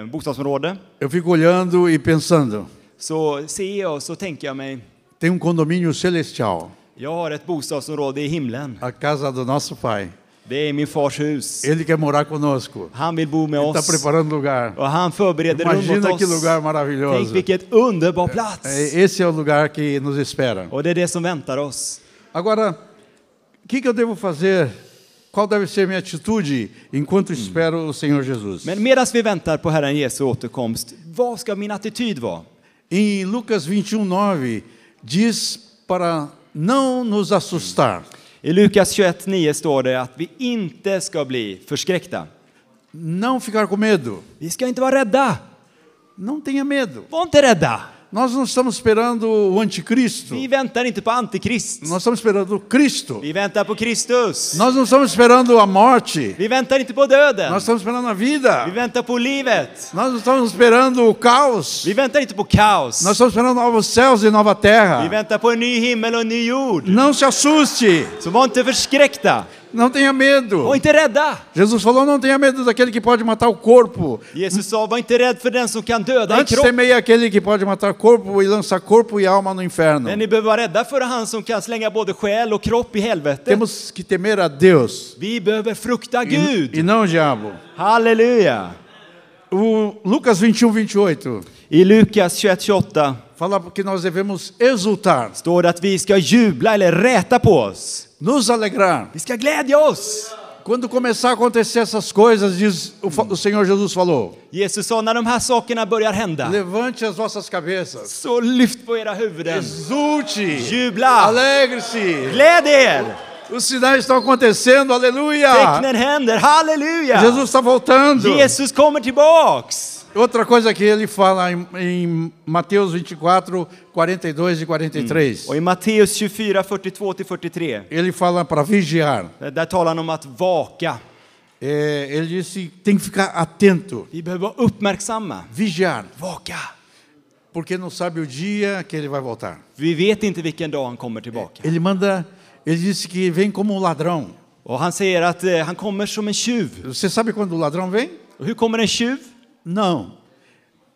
S2: eh, bostadsområde
S1: eu fico olhando e pensando:
S2: så ser jag och så tänker jag mig,
S1: tem um condomínio celestial,
S2: jag har ett bostadsområde i himlen.
S1: a casa do nosso pai.
S2: Det är min fars hus.
S1: Ele quer morar conosco.
S2: Han vill bo med
S1: Ele está
S2: oss
S1: preparando lugar.
S2: och han förbereder rum
S1: Imagina
S2: åt
S1: que
S2: oss.
S1: lugar
S2: Tänk
S1: maravilhoso.
S2: vilket underbar plats!
S1: É, Esse é o lugar que nos espera.
S2: Och det är det som väntar oss.
S1: Agora, o que, que eu devo fazer? Qual deve ser minha atitude enquanto espero o Senhor Jesus?
S2: Men medan vi väntar på Herren Jesu återkomst, vad ska min attityd vara?
S1: Em Lucas 21, 9, diz para não nos assustar,
S2: I Lukas 21.9 står det att vi inte ska bli förskräckta.
S1: não ficar com medo,
S2: Vi ska inte vara rädda.
S1: não tenha medo.
S2: Var inte rädda.
S1: Nós não estamos esperando o anticristo,
S2: Vi väntar inte på antikrist.
S1: nós estamos esperando o Cristo.
S2: Vi väntar på Kristus.
S1: Nós não estamos esperando a morte,
S2: Vi väntar inte på döden.
S1: nós estamos esperando a
S2: Vi
S1: vida.
S2: väntar på livet.
S1: Nós não estamos esperando o caos,
S2: Vi väntar inte på kaos.
S1: nós estamos esperando novos céus e nova
S2: Vi
S1: terra.
S2: väntar på en ny himmel och en ny jord.
S1: Não se assuste.
S2: Så var inte förskräckta.
S1: Não tenha medo.
S2: Var inte rädda.
S1: Jesus falou: não tenha medo daquele que pode matar o corpo.
S2: Jesus sa, var inte rädd för den som kan döda en
S1: Antes
S2: kropp.
S1: temei aquele que pode matar corpo e lançar corpo e alma no inferno.
S2: Men ni behöver vara rädda för han som kan slänga både själ och kropp i helvetet.
S1: Temos que temer a Deus
S2: Vi behöver frukta
S1: e,
S2: Gud.
S1: e não o diabo.
S2: Halleluja!
S1: O Lucas 21, 28
S2: I Lukas 21.28
S1: fala que nós devemos exultar,
S2: står det att vi ska jubla eller räta på oss.
S1: nos alegrar.
S2: Vi ska glädja oss!
S1: Quando começar a acontecer essas coisas, diz o, fa- o Senhor Jesus falou:
S2: Jesus sa, när de här sakerna börjar hända,
S1: levante as vossas cabeças,
S2: så lyft på era huvuden.
S1: exulte,
S2: Jubla.
S1: alegre-se.
S2: Gläd er!
S1: Os sinais estão acontecendo, aleluia!
S2: Tecknen händer, halleluja!
S1: Jesus está voltando.
S2: Jesus kommer tillbaks!
S1: Outra coisa que ele fala em, em Mateus 24, 42 e 43.
S2: Och i Matteus 24, 42-43,
S1: Ele fala para vigiar.
S2: där talar han om att vaka.
S1: É, ele disse tem que ficar atento,
S2: Vi behöver vara uppmärksamma.
S1: vigiar,
S2: Vaka!
S1: porque não sabe o dia que ele vai voltar.
S2: Vi vet inte vilken dag han kommer tillbaka.
S1: Ele manda, ele disse que vem como um ladrão.
S2: Och han säger att eh, han kommer som en tjuv.
S1: Você sabe quando o ladrão vem?
S2: Och hur kommer en tjuv?
S1: Não.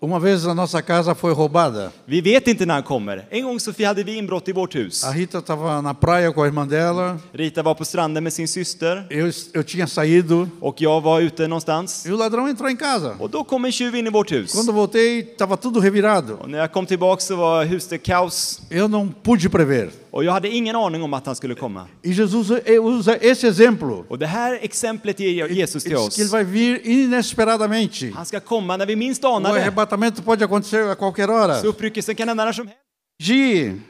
S1: Uma vez a nossa casa foi roubada.
S2: Vi vet inte när han kommer. En gång Sofie hade vi inbrott i vårt hus.
S1: A Rita estava na praia com a irmã dela.
S2: Rita var på stranden med sin syster
S1: Eu, eu tinha saído
S2: och jag var ute någonstans.
S1: e o ladrão entrou em casa.
S2: Och då kom en tjuv in i vårt hus.
S1: Quando eu voltei, estava tudo revirado.
S2: Och när jag kom tillbaka så var huset kaos
S1: Eu não pude prever.
S2: och jag hade ingen aning om att han skulle komma.
S1: E Jesus eh, usa esse exemplo.
S2: Och det här exemplet ger Jesus
S1: Ele
S2: till
S1: diz
S2: oss.
S1: que ele vai vir inesperadamente.
S2: Han ska komma när vi minst
S1: O
S2: anar det.
S1: arrebatamento pode acontecer a qualquer hora.
S2: Så uppryckelsen kan hända när som helst.
S1: Gi,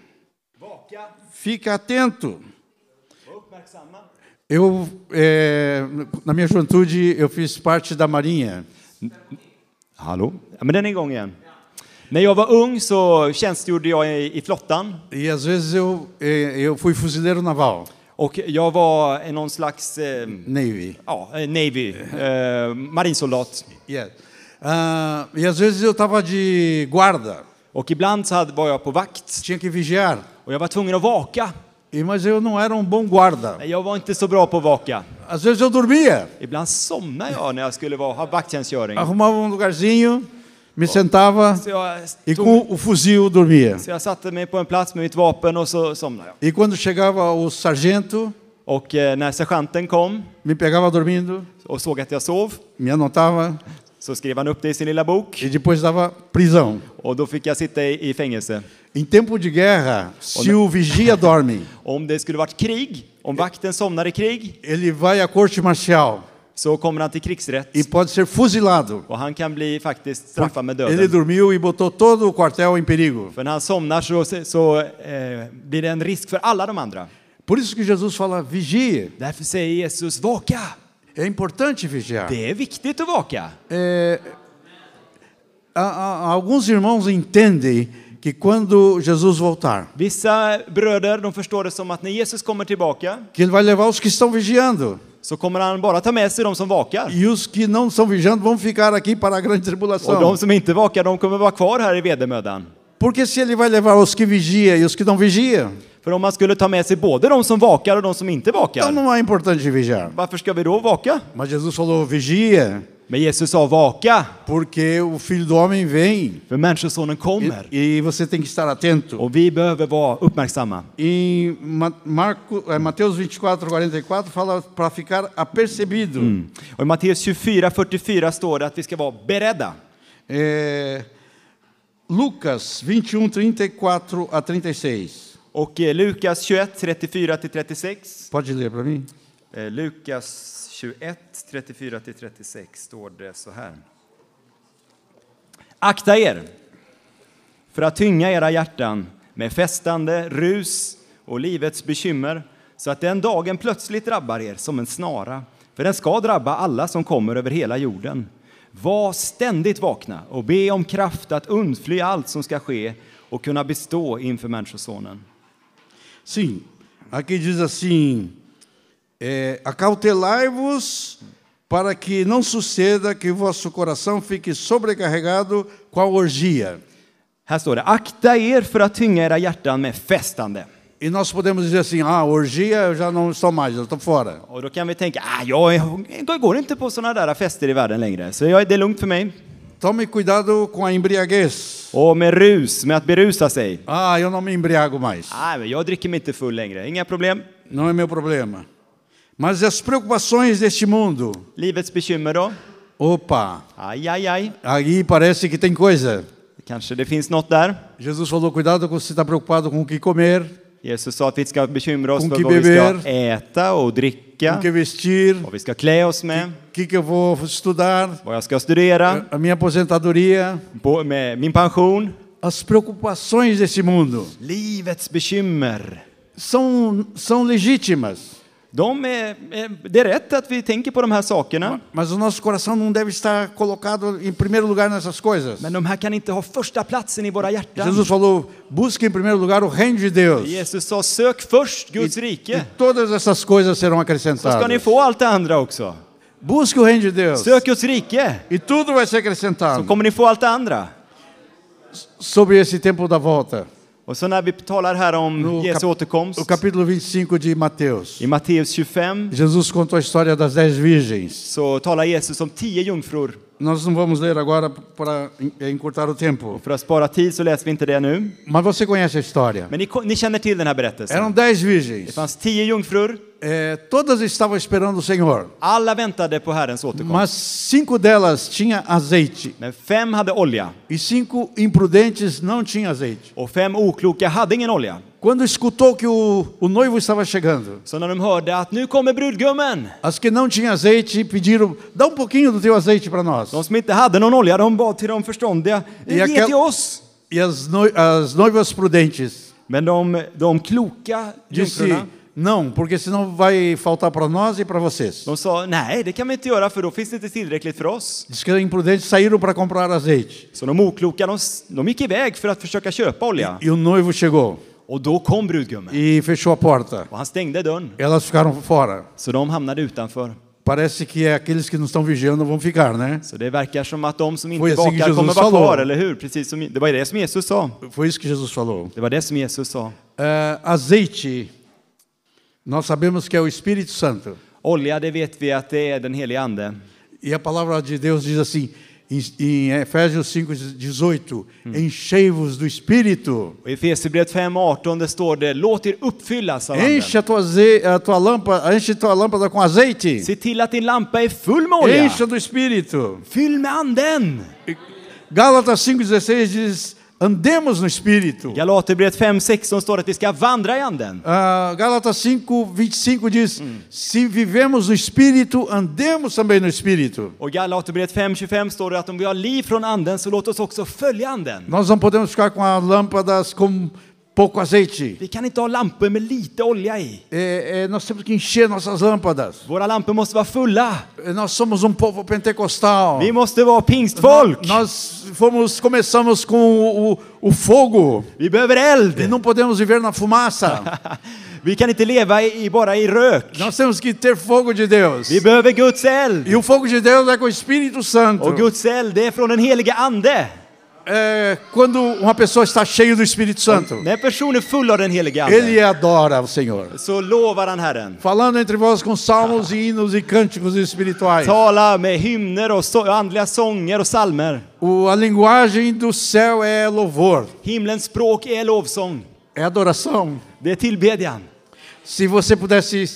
S1: fica atento.
S2: Var uppmärksamma.
S1: Eu, eh, na minha juventude, eu fiz parte da Marinha.
S2: Hallå? Ja, men den är igång igen. När jag var ung så tjänstgjorde jag i, i flottan
S1: E às vezes eu, eh, eu fui fuzileiro naval,
S2: och jag var en- någon slags eh,
S1: Navy.
S2: ja, eh, Navy, eh, marinsoldat.
S1: Yeah. Ah, e às vezes eu estava de guarda,
S2: Och ibland så hade, var jag på vakt
S1: tinha que vigiar.
S2: och jag var tvungen att vaka.
S1: E, mas eu não era um bom guarda.
S2: Nej, Jag var inte så bra på att vaka.
S1: Às vezes jag dormia,
S2: Ibland somnade jag när jag skulle vara, ha vakttjänstgöring.
S1: arrumava um lugarzinho, me sentava
S2: Så jag,
S1: e
S2: tog,
S1: com o fuzil dormia.
S2: så jag satte mig på en plats med mitt vapen och så somnade jag.
S1: E quando chegava o sargento,
S2: Och eh, när sergeanten kom
S1: me pegava dormindo,
S2: och såg att jag sov
S1: me anotava
S2: så skrev han upp det i sin lilla bok
S1: e depois dava prisão.
S2: och då fick jag sitta i, i fängelse.
S1: Em tempo de guerra, se o vigia dorme,
S2: Om det skulle varit krig, om vakten somnar i krig,
S1: ele vai à corte marcial
S2: så kommer han till krigsrätt
S1: e pode ser fuzilado.
S2: och han kan bli faktiskt straffad med
S1: Ele
S2: döden.
S1: dormiu e botou todo o quartel em perigo.
S2: För när han somnar så, så eh, blir det en risk för alla de andra.
S1: Por isso que Jesus fala: vigie.
S2: Därför säger Jesus vaka.
S1: É importante vigiar.
S2: Det är viktigt att vaka.
S1: A- a- Alguns irmãos entendem que quando Jesus voltar,
S2: Vissa bröder de förstår det som att när Jesus kommer tillbaka
S1: que ele vai levar os que estão vigiando.
S2: så kommer han bara ta med sig de som vakar.
S1: E os que não estão vigiando vão ficar aqui para a grande
S2: Och de
S1: tribulação.
S2: som inte vakar de kommer vara kvar här i vedermödan.
S1: Porque se ele vai levar os que vigiam e os que não vigiam,
S2: För om man skulle ta med sig både de som vakar och de som inte
S1: então
S2: vakar,
S1: não é importante vigiar.
S2: varför ska vi då vaka?
S1: Mas Jesus falou: vigia,
S2: Men Jesus sa vaka,
S1: porque o filho do homem vem
S2: för Människosonen kommer.
S1: e, e você tem que estar atento.
S2: Och vi behöver vara uppmärksamma.
S1: Em Ma- Marco, eh, Mateus 24, 44, fala para ficar apercebido.
S2: Och i Matteus 24, 44 står det att vi ska vara beredda.
S1: É, Lucas 21, 34 a 36.
S2: Och eh, Lukas 21, 34-36.
S1: Pode ler para mim?
S2: Eh, Lukas 21, 34-36 står det så här. Akta er för att tynga era hjärtan med festande, rus och livets bekymmer så att den dagen plötsligt drabbar er som en snara, för den ska drabba alla som kommer över hela jorden. Var ständigt vakna och be om kraft att undfly allt som ska ske och kunna bestå inför Människosonen.
S1: Sim. Aqui diz assim: é, acautelai-vos para que não suceda que vosso coração fique sobrecarregado com a orgia.
S2: Här står det, akta er för att tynga era hjärtan med festande.
S1: E nós podemos dizer assim: ah, orgia eu já não estou mais, eu estou fora.
S2: Och då kan vi tänka, ah, jag, är- jag går inte på sådana där fester i världen längre, så jag, det är lugnt för mig.
S1: Tome cuidado com a embriaguez.
S2: Och med rus, med att berusa sig.
S1: Ah, eu não me embriago mais.
S2: Nej, men jag dricker mig inte full längre, inga problem.
S1: Não é meu problema. Mas as preocupações deste mundo,
S2: Livets bekymmer då?
S1: opa,
S2: Aj, aj, aj.
S1: aí parece que tem coisa.
S2: Kanske det finns något där.
S1: Jesus falou: cuidado com se está preocupado com o que comer,
S2: Jesus sa att vi ska bekymra oss
S1: Hon
S2: för
S1: kan
S2: vad vi
S1: beber.
S2: ska äta och
S1: com o
S2: dricka,
S1: que vestir,
S2: vad vi ska klä oss med,
S1: o que, que eu vou estudar,
S2: vad jag ska studera,
S1: a minha aposentadoria.
S2: på, med min pension.
S1: As preocupações desse mundo
S2: Livets bekymmer.
S1: são, são legítimas,
S2: De är, är- det är rätt att vi tänker på de här sakerna,
S1: Mas o nosso coração não deve estar colocado em primeiro lugar nessas coisas.
S2: men de här kan inte ha första platsen i våra hjärtan.
S1: Jesus falou: busque em primeiro lugar o reino de Deus.
S2: Jesus sa sök först Guds
S1: E,
S2: rike,
S1: e todas essas coisas serão
S2: så ska ni
S1: acrescentadas.
S2: få allt det andra också.
S1: Busque o reino de Deus.
S2: Sök Guds rike,
S1: E tudo vai ser
S2: så
S1: acrescentado
S2: kommer ni få allt det andra.
S1: sobre esse tempo da volta.
S2: Och så när vi talar här om
S1: No,
S2: Jesu
S1: kap-
S2: återkomst,
S1: O capítulo 25 de Mateus.
S2: i Matteus 25,
S1: Jesus contou a história das dez virgens.
S2: så talar Jesus om tio jungfrur.
S1: Nós não vamos ler agora para en- eh, encurtar o tempo.
S2: För att spara tid så läser vi inte det nu.
S1: Mas você conhece a história.
S2: Men ni, ni känner till den här berättelsen.
S1: Eram dez
S2: Det
S1: virgens.
S2: fanns tio jungfrur.
S1: Eh, todas estavam esperando o Senhor.
S2: Alla väntade på Herrens
S1: Mm.
S2: återkomst.
S1: Mas cinco delas tinha azeite.
S2: Men fem hade olja
S1: E cinco imprudentes não tinham azeite.
S2: och fem okloka hade ingen olja.
S1: Quando escutou que o, o noivo estava chegando,
S2: Så när de hörde att nu kommer brudgummen.
S1: as que não tinham azeite pediram: dá um pouquinho do teu azeite para nós.
S2: De som inte hade någon olja, de bad till de förståndiga. Ge
S1: Jag kan-
S2: till oss!
S1: E as, noi- as noivas prudentes
S2: Men de, de kloka
S1: disse:
S2: jungfrurna,
S1: não, porque senão vai faltar para nós e para vocês.
S2: de sa nej, det kan vi inte göra för då finns det inte tillräckligt för oss.
S1: Diz que os imprudentes saíram para comprar azeite.
S2: Så de okloka, de, s- de gick iväg för att försöka köpa olja.
S1: E o noivo chegou
S2: Och då kom brudgummen
S1: e fechou a porta.
S2: och han stängde dörren.
S1: Elas ficaram fora.
S2: Så de hamnade utanför.
S1: Parece que é aqueles que não estão vigiando vão ficar, né?
S2: Så det verkar som att de som
S1: Oj,
S2: inte
S1: jag tycker
S2: bakar
S1: Jesus
S2: kommer vara
S1: sa då.
S2: kvar, eller hur? Precis som, det var ju det som Jesus sa.
S1: Foi isso que Jesus falou.
S2: Det var det som Jesus sa.
S1: Eh, azeite, nós sabemos que é o Espírito Santo.
S2: Olja, det vet vi att det är den helige Ande.
S1: E a palavra de Deus diz assim, em, em Efésios 5, 18, enchei-vos do Espírito.
S2: Och i Efesierbrevet 5.18 det står det Låt er uppfyllas av Anden.
S1: Enche a tua, aze- a tua lâmpada, enche tua lâmpada com azeite.
S2: Se till att din lampa är full med olja.
S1: Encha do Espírito.
S2: Fyll med Anden.
S1: Gálatas 5,16 diz, andemos no Espírito.
S2: Galaterbrevet 5.16 står att vi ska vandra i Anden.
S1: Ah, Gálatas 5, 25 diz: Se vivemos no espírito, andemos também no espírito.
S2: Och Galaterbrevet 5.25 står det att om vi har liv från Anden så låt oss också följa Anden.
S1: Nós não podemos ficar com as lâmpadas com pouco azeite.
S2: Vi kan inte ha lampor med lite olja i.
S1: É, é, nós temos que encher nossas lâmpadas.
S2: Våra lampor måste vara fulla.
S1: É, Nós somos um povo pentecostal.
S2: Vi måste vara pingstfolk.
S1: Nós fomos, começamos com o, o- o fogo
S2: Vi behöver
S1: e
S2: eld.
S1: não podemos viver na fumaça.
S2: Vi kan inte leva i, i- bara i rök.
S1: nós temos que ter fogo de Deus.
S2: Vi behöver Guds eld.
S1: E o fogo de Deus é com o Espírito Santo.
S2: Och Guds eld, det är från den helige Ande.
S1: É, quando uma pessoa está cheia do Espírito Santo,
S2: När en person är full av den helige Ande
S1: Ele adora o Senhor.
S2: så lovar han Herren.
S1: Falando entre vós com salmos e hinos e cânticos espirituais.
S2: Tala med hymner och so- andliga sånger och salmer.
S1: O, a linguagem do céu é louvor,
S2: Himlens språk är lovsång.
S1: é adoração.
S2: Det är tillbedjan.
S1: Se você pudesse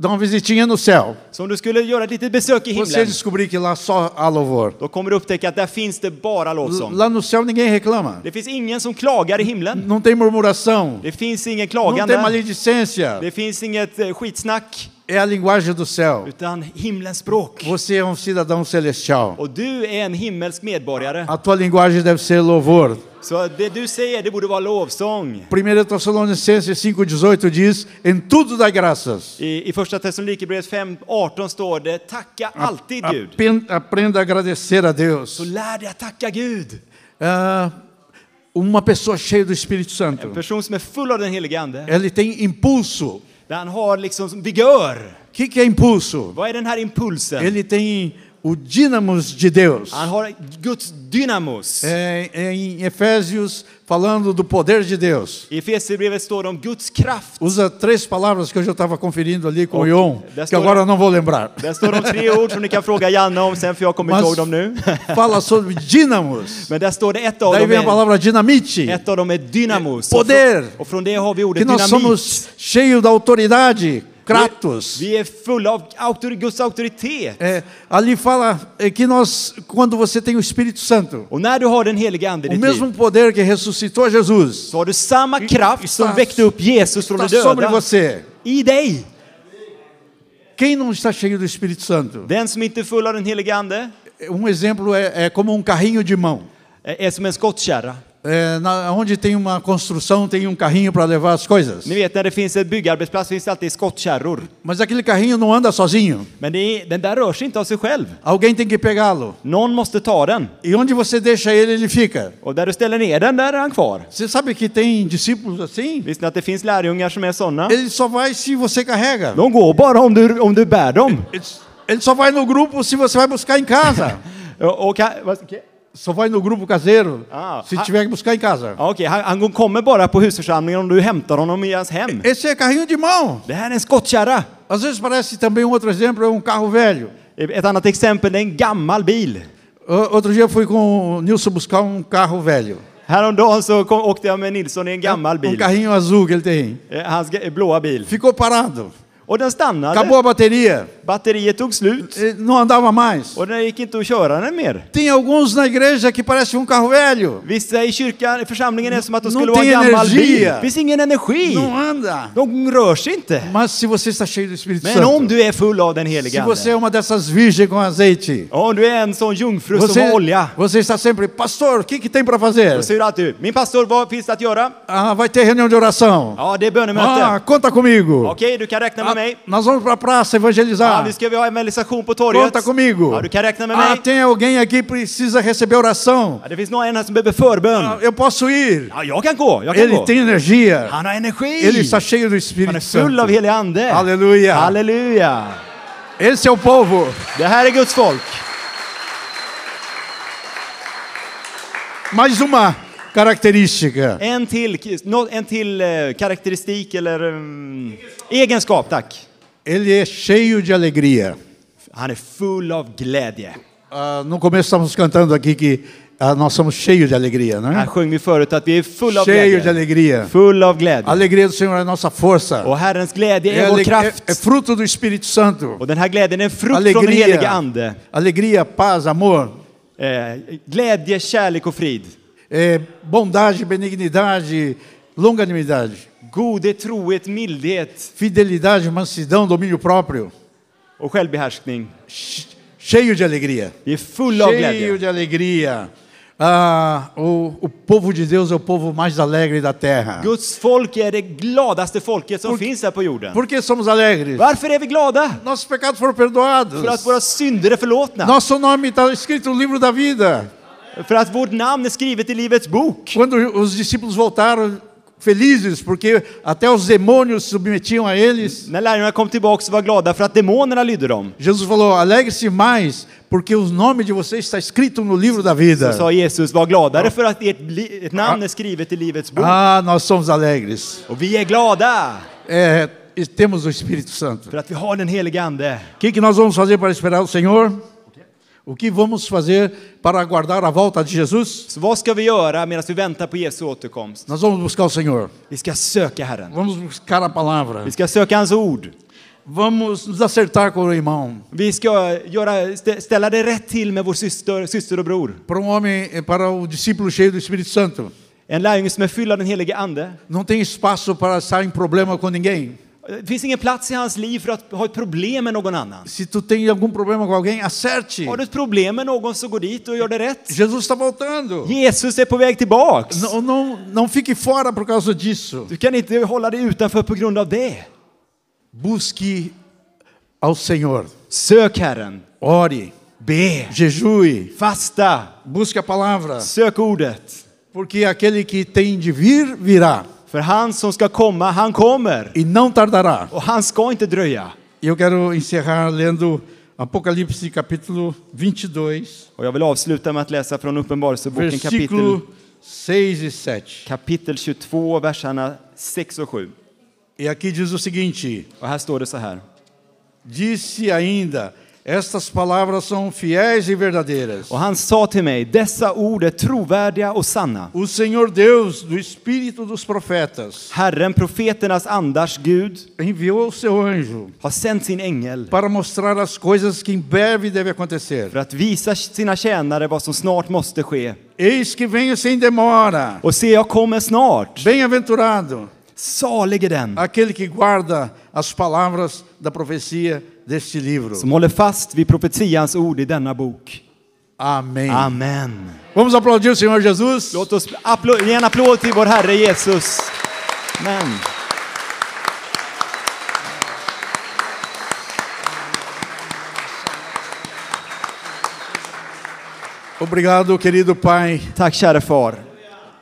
S1: dar uma visitinha no céu,
S2: Så om du skulle göra ett litet besök i
S1: você
S2: himlen,
S1: descobrir que lá só há louvor.
S2: då kommer du upptäcka att där finns det bara
S1: L-
S2: lovsång.
S1: Lá no céu ninguém reclama.
S2: Det finns ingen som klagar i himlen.
S1: Não tem murmuração.
S2: Det finns ingen
S1: Não tem
S2: klagan där.
S1: maledicência.
S2: Det finns inget eh, skitsnack,
S1: É a linguagem do céu.
S2: utan himlens språk.
S1: Você är um cidadão celestial.
S2: Och du är en himmelsk medborgare.
S1: A tua linguagem deve ser louvor.
S2: Så det du säger, det borde vara lovsång.
S1: 1 Tessalonicenses 5,18 diz: Em tudo dai graças.
S2: I, i första Thessalonikerbrevet 5, 18 står det Tacka alltid Gud.
S1: Apen- Aprenda a agradecer a Deus.
S2: Så lär dig att tacka Gud.
S1: Ah, uma pessoa cheia do Espírito
S2: En
S1: Santo,
S2: person som är full av den helige Ande,
S1: ele tem impulso.
S2: där han har liksom vigör.
S1: O que, que é impulso?
S2: Vad är den här impulsen?
S1: Ele tem o dínamos de Deus.
S2: Han har Guds dynamos.
S1: É, é em Efésios, falando do poder de Deus,
S2: I Efesierbrevet står det om Guds kraft.
S1: usa três palavras que hoje eu estava conferindo ali com o Ion, que
S2: desta
S1: agora
S2: hora-
S1: eu não vou lembrar.
S2: Där står de tre ord som ni kan fråga Janne om sen, för jag kommer inte ihåg
S1: Mas
S2: dem nu.
S1: fala sobre dínamos.
S2: Men där står det ett av
S1: Daí
S2: dem
S1: vem a
S2: är,
S1: palavra dinamite,
S2: ett av dem är dynamos. Och
S1: Poder.
S2: från, och från det har vi ordet
S1: que nós
S2: dynamit.
S1: somos cheios da autoridade, kratos.
S2: Vi är fulla av auktor, Guds auktoritet.
S1: É, ali fala é, que nós, quando você tem o Espírito Santo,
S2: Och när du har den helige Ande i
S1: o
S2: ditt liv,
S1: mesmo poder que ressuscitou Jesus
S2: så har du samma kraft som
S1: Está-
S2: väckte upp Jesus från de
S1: está sobre
S2: döda
S1: você.
S2: i dig.
S1: Quem não está cheio do Espírito Santo?
S2: Den som inte är full av den helige Ande
S1: Um exemplo é, é como um carrinho de mão.
S2: eh, är som en skottkärra.
S1: É, na, onde tem uma construção, tem um carrinho para levar as coisas.
S2: Ni vet när det finns en byggarbetsplats finns det alltid skottkärror.
S1: Mas aquele carrinho não anda sozinho.
S2: Men det är, den där rör sig inte av sig själv.
S1: Alguém tem que pegá-lo.
S2: Någon måste ta den.
S1: E onde você deixa ele, ele fica.
S2: Och där du ställer ner den, där är han kvar.
S1: Você sabe que tem discípulos assim?
S2: Visste ni att det finns lärjungar som är sådana?
S1: Ele só vai se você carrega.
S2: De går bara om du, om du bär dem.
S1: Ele só vai no grupo se você vai buscar em casa.
S2: Och, och, kan- vad- okej.
S1: Só vai no grupo caseiro
S2: Ah,
S1: se
S2: ah.
S1: tiver que buscar em casa.
S2: Ja, okej, han, han kommer bara på husförsamlingen om du hämtar honom i hans hem.
S1: Esse é carrinho de mão.
S2: Det här är en skottkärra.
S1: Às vezes parece também um outro exemplo, é um carro velho.
S2: Ett annat exempel det är en gammal bil.
S1: O- Outro dia eu fui com o Nilson buscar um carro velho.
S2: Häromdagen så kom, åkte jag med Nilsson i en gammal
S1: Um
S2: bil.
S1: carrinho azul que ele tem.
S2: Eh, Hans ga- blåa bil.
S1: Ficou parado.
S2: Och den stannade.
S1: Acabou a bateria.
S2: Batteriet tog slut.
S1: Ele Não andava mais.
S2: Och det gick inte att köra den mer.
S1: Tem alguns na igreja que parecem um carro velho.
S2: Vissa i kyrkan, i församlingen är som att de
S1: Nå-
S2: skulle vara en
S1: någonting
S2: gammal
S1: energi.
S2: bil. Det finns ingen energi.
S1: Não anda.
S2: De rör sig inte.
S1: Mas se você está cheio do Espírito
S2: Men om
S1: Santo,
S2: du är full av den
S1: se
S2: heliga
S1: você
S2: Ande.
S1: é uma dessas virgens com azeite,
S2: Om du är en sån jungfru som
S1: você,
S2: har olja.
S1: você está sempre, pastor, o que, que tem para fazer?
S2: Då säger du alltid, min pastor, vad finns det att göra?
S1: Ah, vai ter reunião de oração.
S2: Ja, det är bönemöte.
S1: Ah, conta comigo.
S2: Okej, du kan räkna med
S1: Ah,
S2: mig.
S1: nós vamos para a praça
S2: Ja,
S1: evangelizar.
S2: vi ska vi ha evangelisation på torget.
S1: Conta comigo.
S2: Ja, du kan räkna med
S1: Ah,
S2: mig.
S1: tem alguém aqui que precisa receber oração.
S2: Ja, det finns någon här som behöver förbön.
S1: Ah, eu posso ir.
S2: Ja, jag kan gå. Jag kan
S1: Ele
S2: gå.
S1: tem energia.
S2: Han har energi.
S1: Ele está cheio do
S2: Han är
S1: Espírito
S2: full
S1: Santo.
S2: av helig ande.
S1: Halleluja.
S2: Halleluja.
S1: Esse é o povo.
S2: Det här är Guds folk.
S1: Mais uma característica.
S2: En till, ki- nå- en till eh, karaktäristik eller mm, egenskap, tack.
S1: Ele é cheio de alegria.
S2: Han är full av glädje.
S1: Ah, no começo estávamos cantando aqui que ah, nós somos cheios de alegria,
S2: Här
S1: né?
S2: sjöng vi förut att vi är fulla av
S1: Cheio de
S2: glädje.
S1: alegria.
S2: Full av glädje.
S1: A alegria do Senhor é a nossa força.
S2: Och Herrens glädje
S1: É,
S2: är vår
S1: ale-
S2: kraft.
S1: é- é fruto do Espírito Santo.
S2: Och den här glädjen är en frukt från den helige
S1: Alegria,
S2: Ande.
S1: alegria, paz, amor,
S2: Eh, glädje, kärlek och frid.
S1: é, bondade, benignidade, longanimidade,
S2: Godhet, trohet, mildhet
S1: fidelidade, mansidão, domínio próprio.
S2: och självbehärskning.
S1: Che- Cheio de alegria.
S2: Vi är fulla av
S1: Cheio
S2: glädje.
S1: de alegria. Ah, o, o povo de Deus é o povo mais alegre da terra.
S2: Guds folk är det gladaste folket som finns här på jorden.
S1: Por que somos alegres?
S2: Varför är vi glada?
S1: Nossos pecados foram perdoados.
S2: För att våra synder är förlåtna.
S1: Nosso nome está escrito no livro da vida.
S2: För att vårt namn är skrivet i Livets bok.
S1: Quando os discípulos voltaram felizes, porque até os demônios se submetiam a eles,
S2: När lärjungarna kom tillbaka så var glada för att demonerna lydde dem.
S1: Jesus falou: alegre-se mais, porque o nome de vocês está escrito no livro da vida.
S2: Då sa Jesus, var gladare för att ert, li- ert namn är skrivet i Livets bok.
S1: Ah, nós somos alegres.
S2: Och vi är glada
S1: É, e temos o Espírito Santo.
S2: för att vi har den helige Ande.
S1: O que, que nós vamos fazer para esperar o Senhor? O que vamos fazer para aguardar a volta de Jesus?
S2: Så vad ska vi göra medan vi väntar på Jesu återkomst?
S1: Nós vamos buscar o Senhor.
S2: Vi ska söka Herren.
S1: Vamos buscar a palavra.
S2: Vi ska söka hans ord.
S1: Vamos nos acertar com o irmão.
S2: Vi ska göra, stä- ställa det rätt till med vår syster, syster och bror.
S1: Para um homem, eh, para o discípulo cheio do Espírito Santo,
S2: En lärjunge som är fylld av den helige Ande.
S1: não tem espaço para estar em problema com ninguém.
S2: Det finns ingen plats i hans liv för att ha ett problem med någon annan.
S1: Se tu tem algum problema com alguém, acerte.
S2: Har du ett problem med någon så gå dit och gör det rätt.
S1: Jesus está voltando.
S2: Jesus är på väg tillbaks.
S1: Não, não, não fique fora por causa disso.
S2: Du kan inte hålla dig utanför på grund av det.
S1: Busque ao Senhor.
S2: Sök Herren.
S1: Ore,
S2: Be.
S1: jejue,
S2: Fasta.
S1: busque a palavra.
S2: Sök ordet.
S1: Porque aquele que tem de vir, virá,
S2: För han som ska komma, han kommer.
S1: e não tardará.
S2: Och han ska inte dröja.
S1: Eu quero encerrar lendo Apocalipse capítulo 22,
S2: Och jag vill avsluta med att läsa från Uppenbarelseboken kapitel,
S1: versículo 6 e 7.
S2: kapitel 22, verserna 6 och 7.
S1: E aqui diz o seguinte:
S2: Och här står det så här.
S1: Disse ainda, estas palavras são fiéis e verdadeiras.
S2: Och han sa till mig, dessa ord är trovärdiga och sanna.
S1: O Senhor Deus, do Espírito dos profetas,
S2: Herren, profeternas andars Gud,
S1: enviou o seu anjo
S2: har sänt sin ängel
S1: para mostrar as coisas que em breve devem acontecer.
S2: för att visa sina tjänare vad som snart måste ske.
S1: Eis que venho sem demora.
S2: Och se, jag kommer snart.
S1: Bem-aventurado
S2: Salig är den
S1: aquele que guarda as palavras da profecia deste livro.
S2: som håller fast vid profetians ord i denna bok.
S1: Amém.
S2: Amen.
S1: Vamos aplaudir o Senhor Jesus.
S2: Låt oss applå- ge en applåd till vår Herre Jesus. Amen.
S1: Obrigado, querido Pai,
S2: Tack käre Far,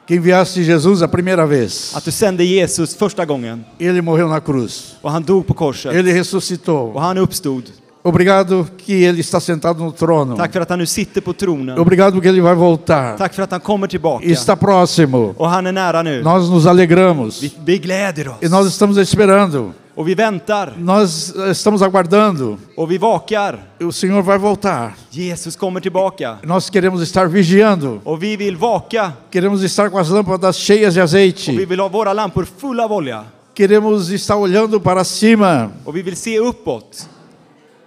S1: que enviaste Jesus a primeira vez.
S2: att du sände Jesus första gången
S1: Ele morreu na cruz.
S2: och han dog på korset
S1: Ele
S2: och
S1: ressuscitou.
S2: han uppstod.
S1: Obrigado que ele está sentado no trono.
S2: Tack för att han nu sitter på tronen.
S1: Obrigado que ele vai voltar.
S2: Tack för att han kommer tillbaka.
S1: Está próximo.
S2: Och han är nära nu.
S1: Nós nos alegramos.
S2: Vi, vi gläder
S1: E
S2: oss.
S1: nós estamos esperando.
S2: Och vi väntar.
S1: Nós eh, estamos aguardando.
S2: Och vi vakar.
S1: O Senhor vai voltar.
S2: Jesus kommer tillbaka.
S1: Nós queremos estar vigiando.
S2: Och vi vill vaka.
S1: Queremos estar com as lâmpadas cheias de
S2: Och vi
S1: azeite.
S2: vill ha våra lampor fulla av olja.
S1: Queremos estar olhando para cima,
S2: Och vi vill se uppåt.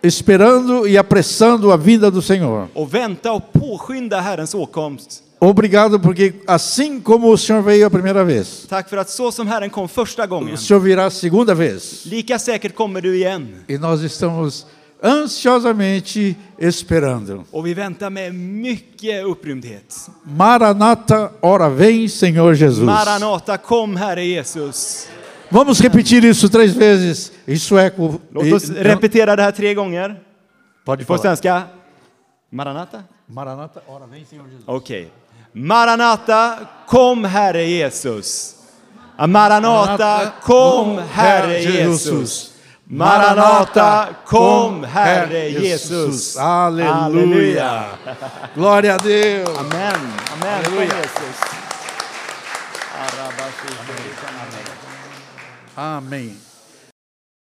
S1: esperando e apressando a vinda do Senhor.
S2: Och vänta och påskynda Herrens åkomst.
S1: Obrigado, porque assim como o Senhor veio a primeira vez,
S2: Tack för att så som Herren kom första gången,
S1: o Senhor virá a segunda vez.
S2: lika säkert kommer du igen.
S1: E nós estamos ansiosamente esperando.
S2: Och vi väntar med mycket upprymdhet.
S1: Maranata, ora vem, Senhor Jesus.
S2: Maranata, kom Herre Jesus.
S1: Vamos repetir isso três vezes em sueco.
S2: Låt oss
S1: E-
S2: repetera det här tre gånger.
S1: Pode
S2: På
S1: falar.
S2: svenska. Maranata?
S1: Maranata, ora vem, Senhor Jesus.
S2: Okej. Maranata, kom Herre Jesus. Maranata, kom Herre Jesus. Maranata, kom Herre Jesus.
S1: Aleluia.
S2: Halleluja.
S1: Glória a Deus.
S2: Amen. Amen. Kom
S1: Halleluja.
S2: Jesus.
S1: Amém.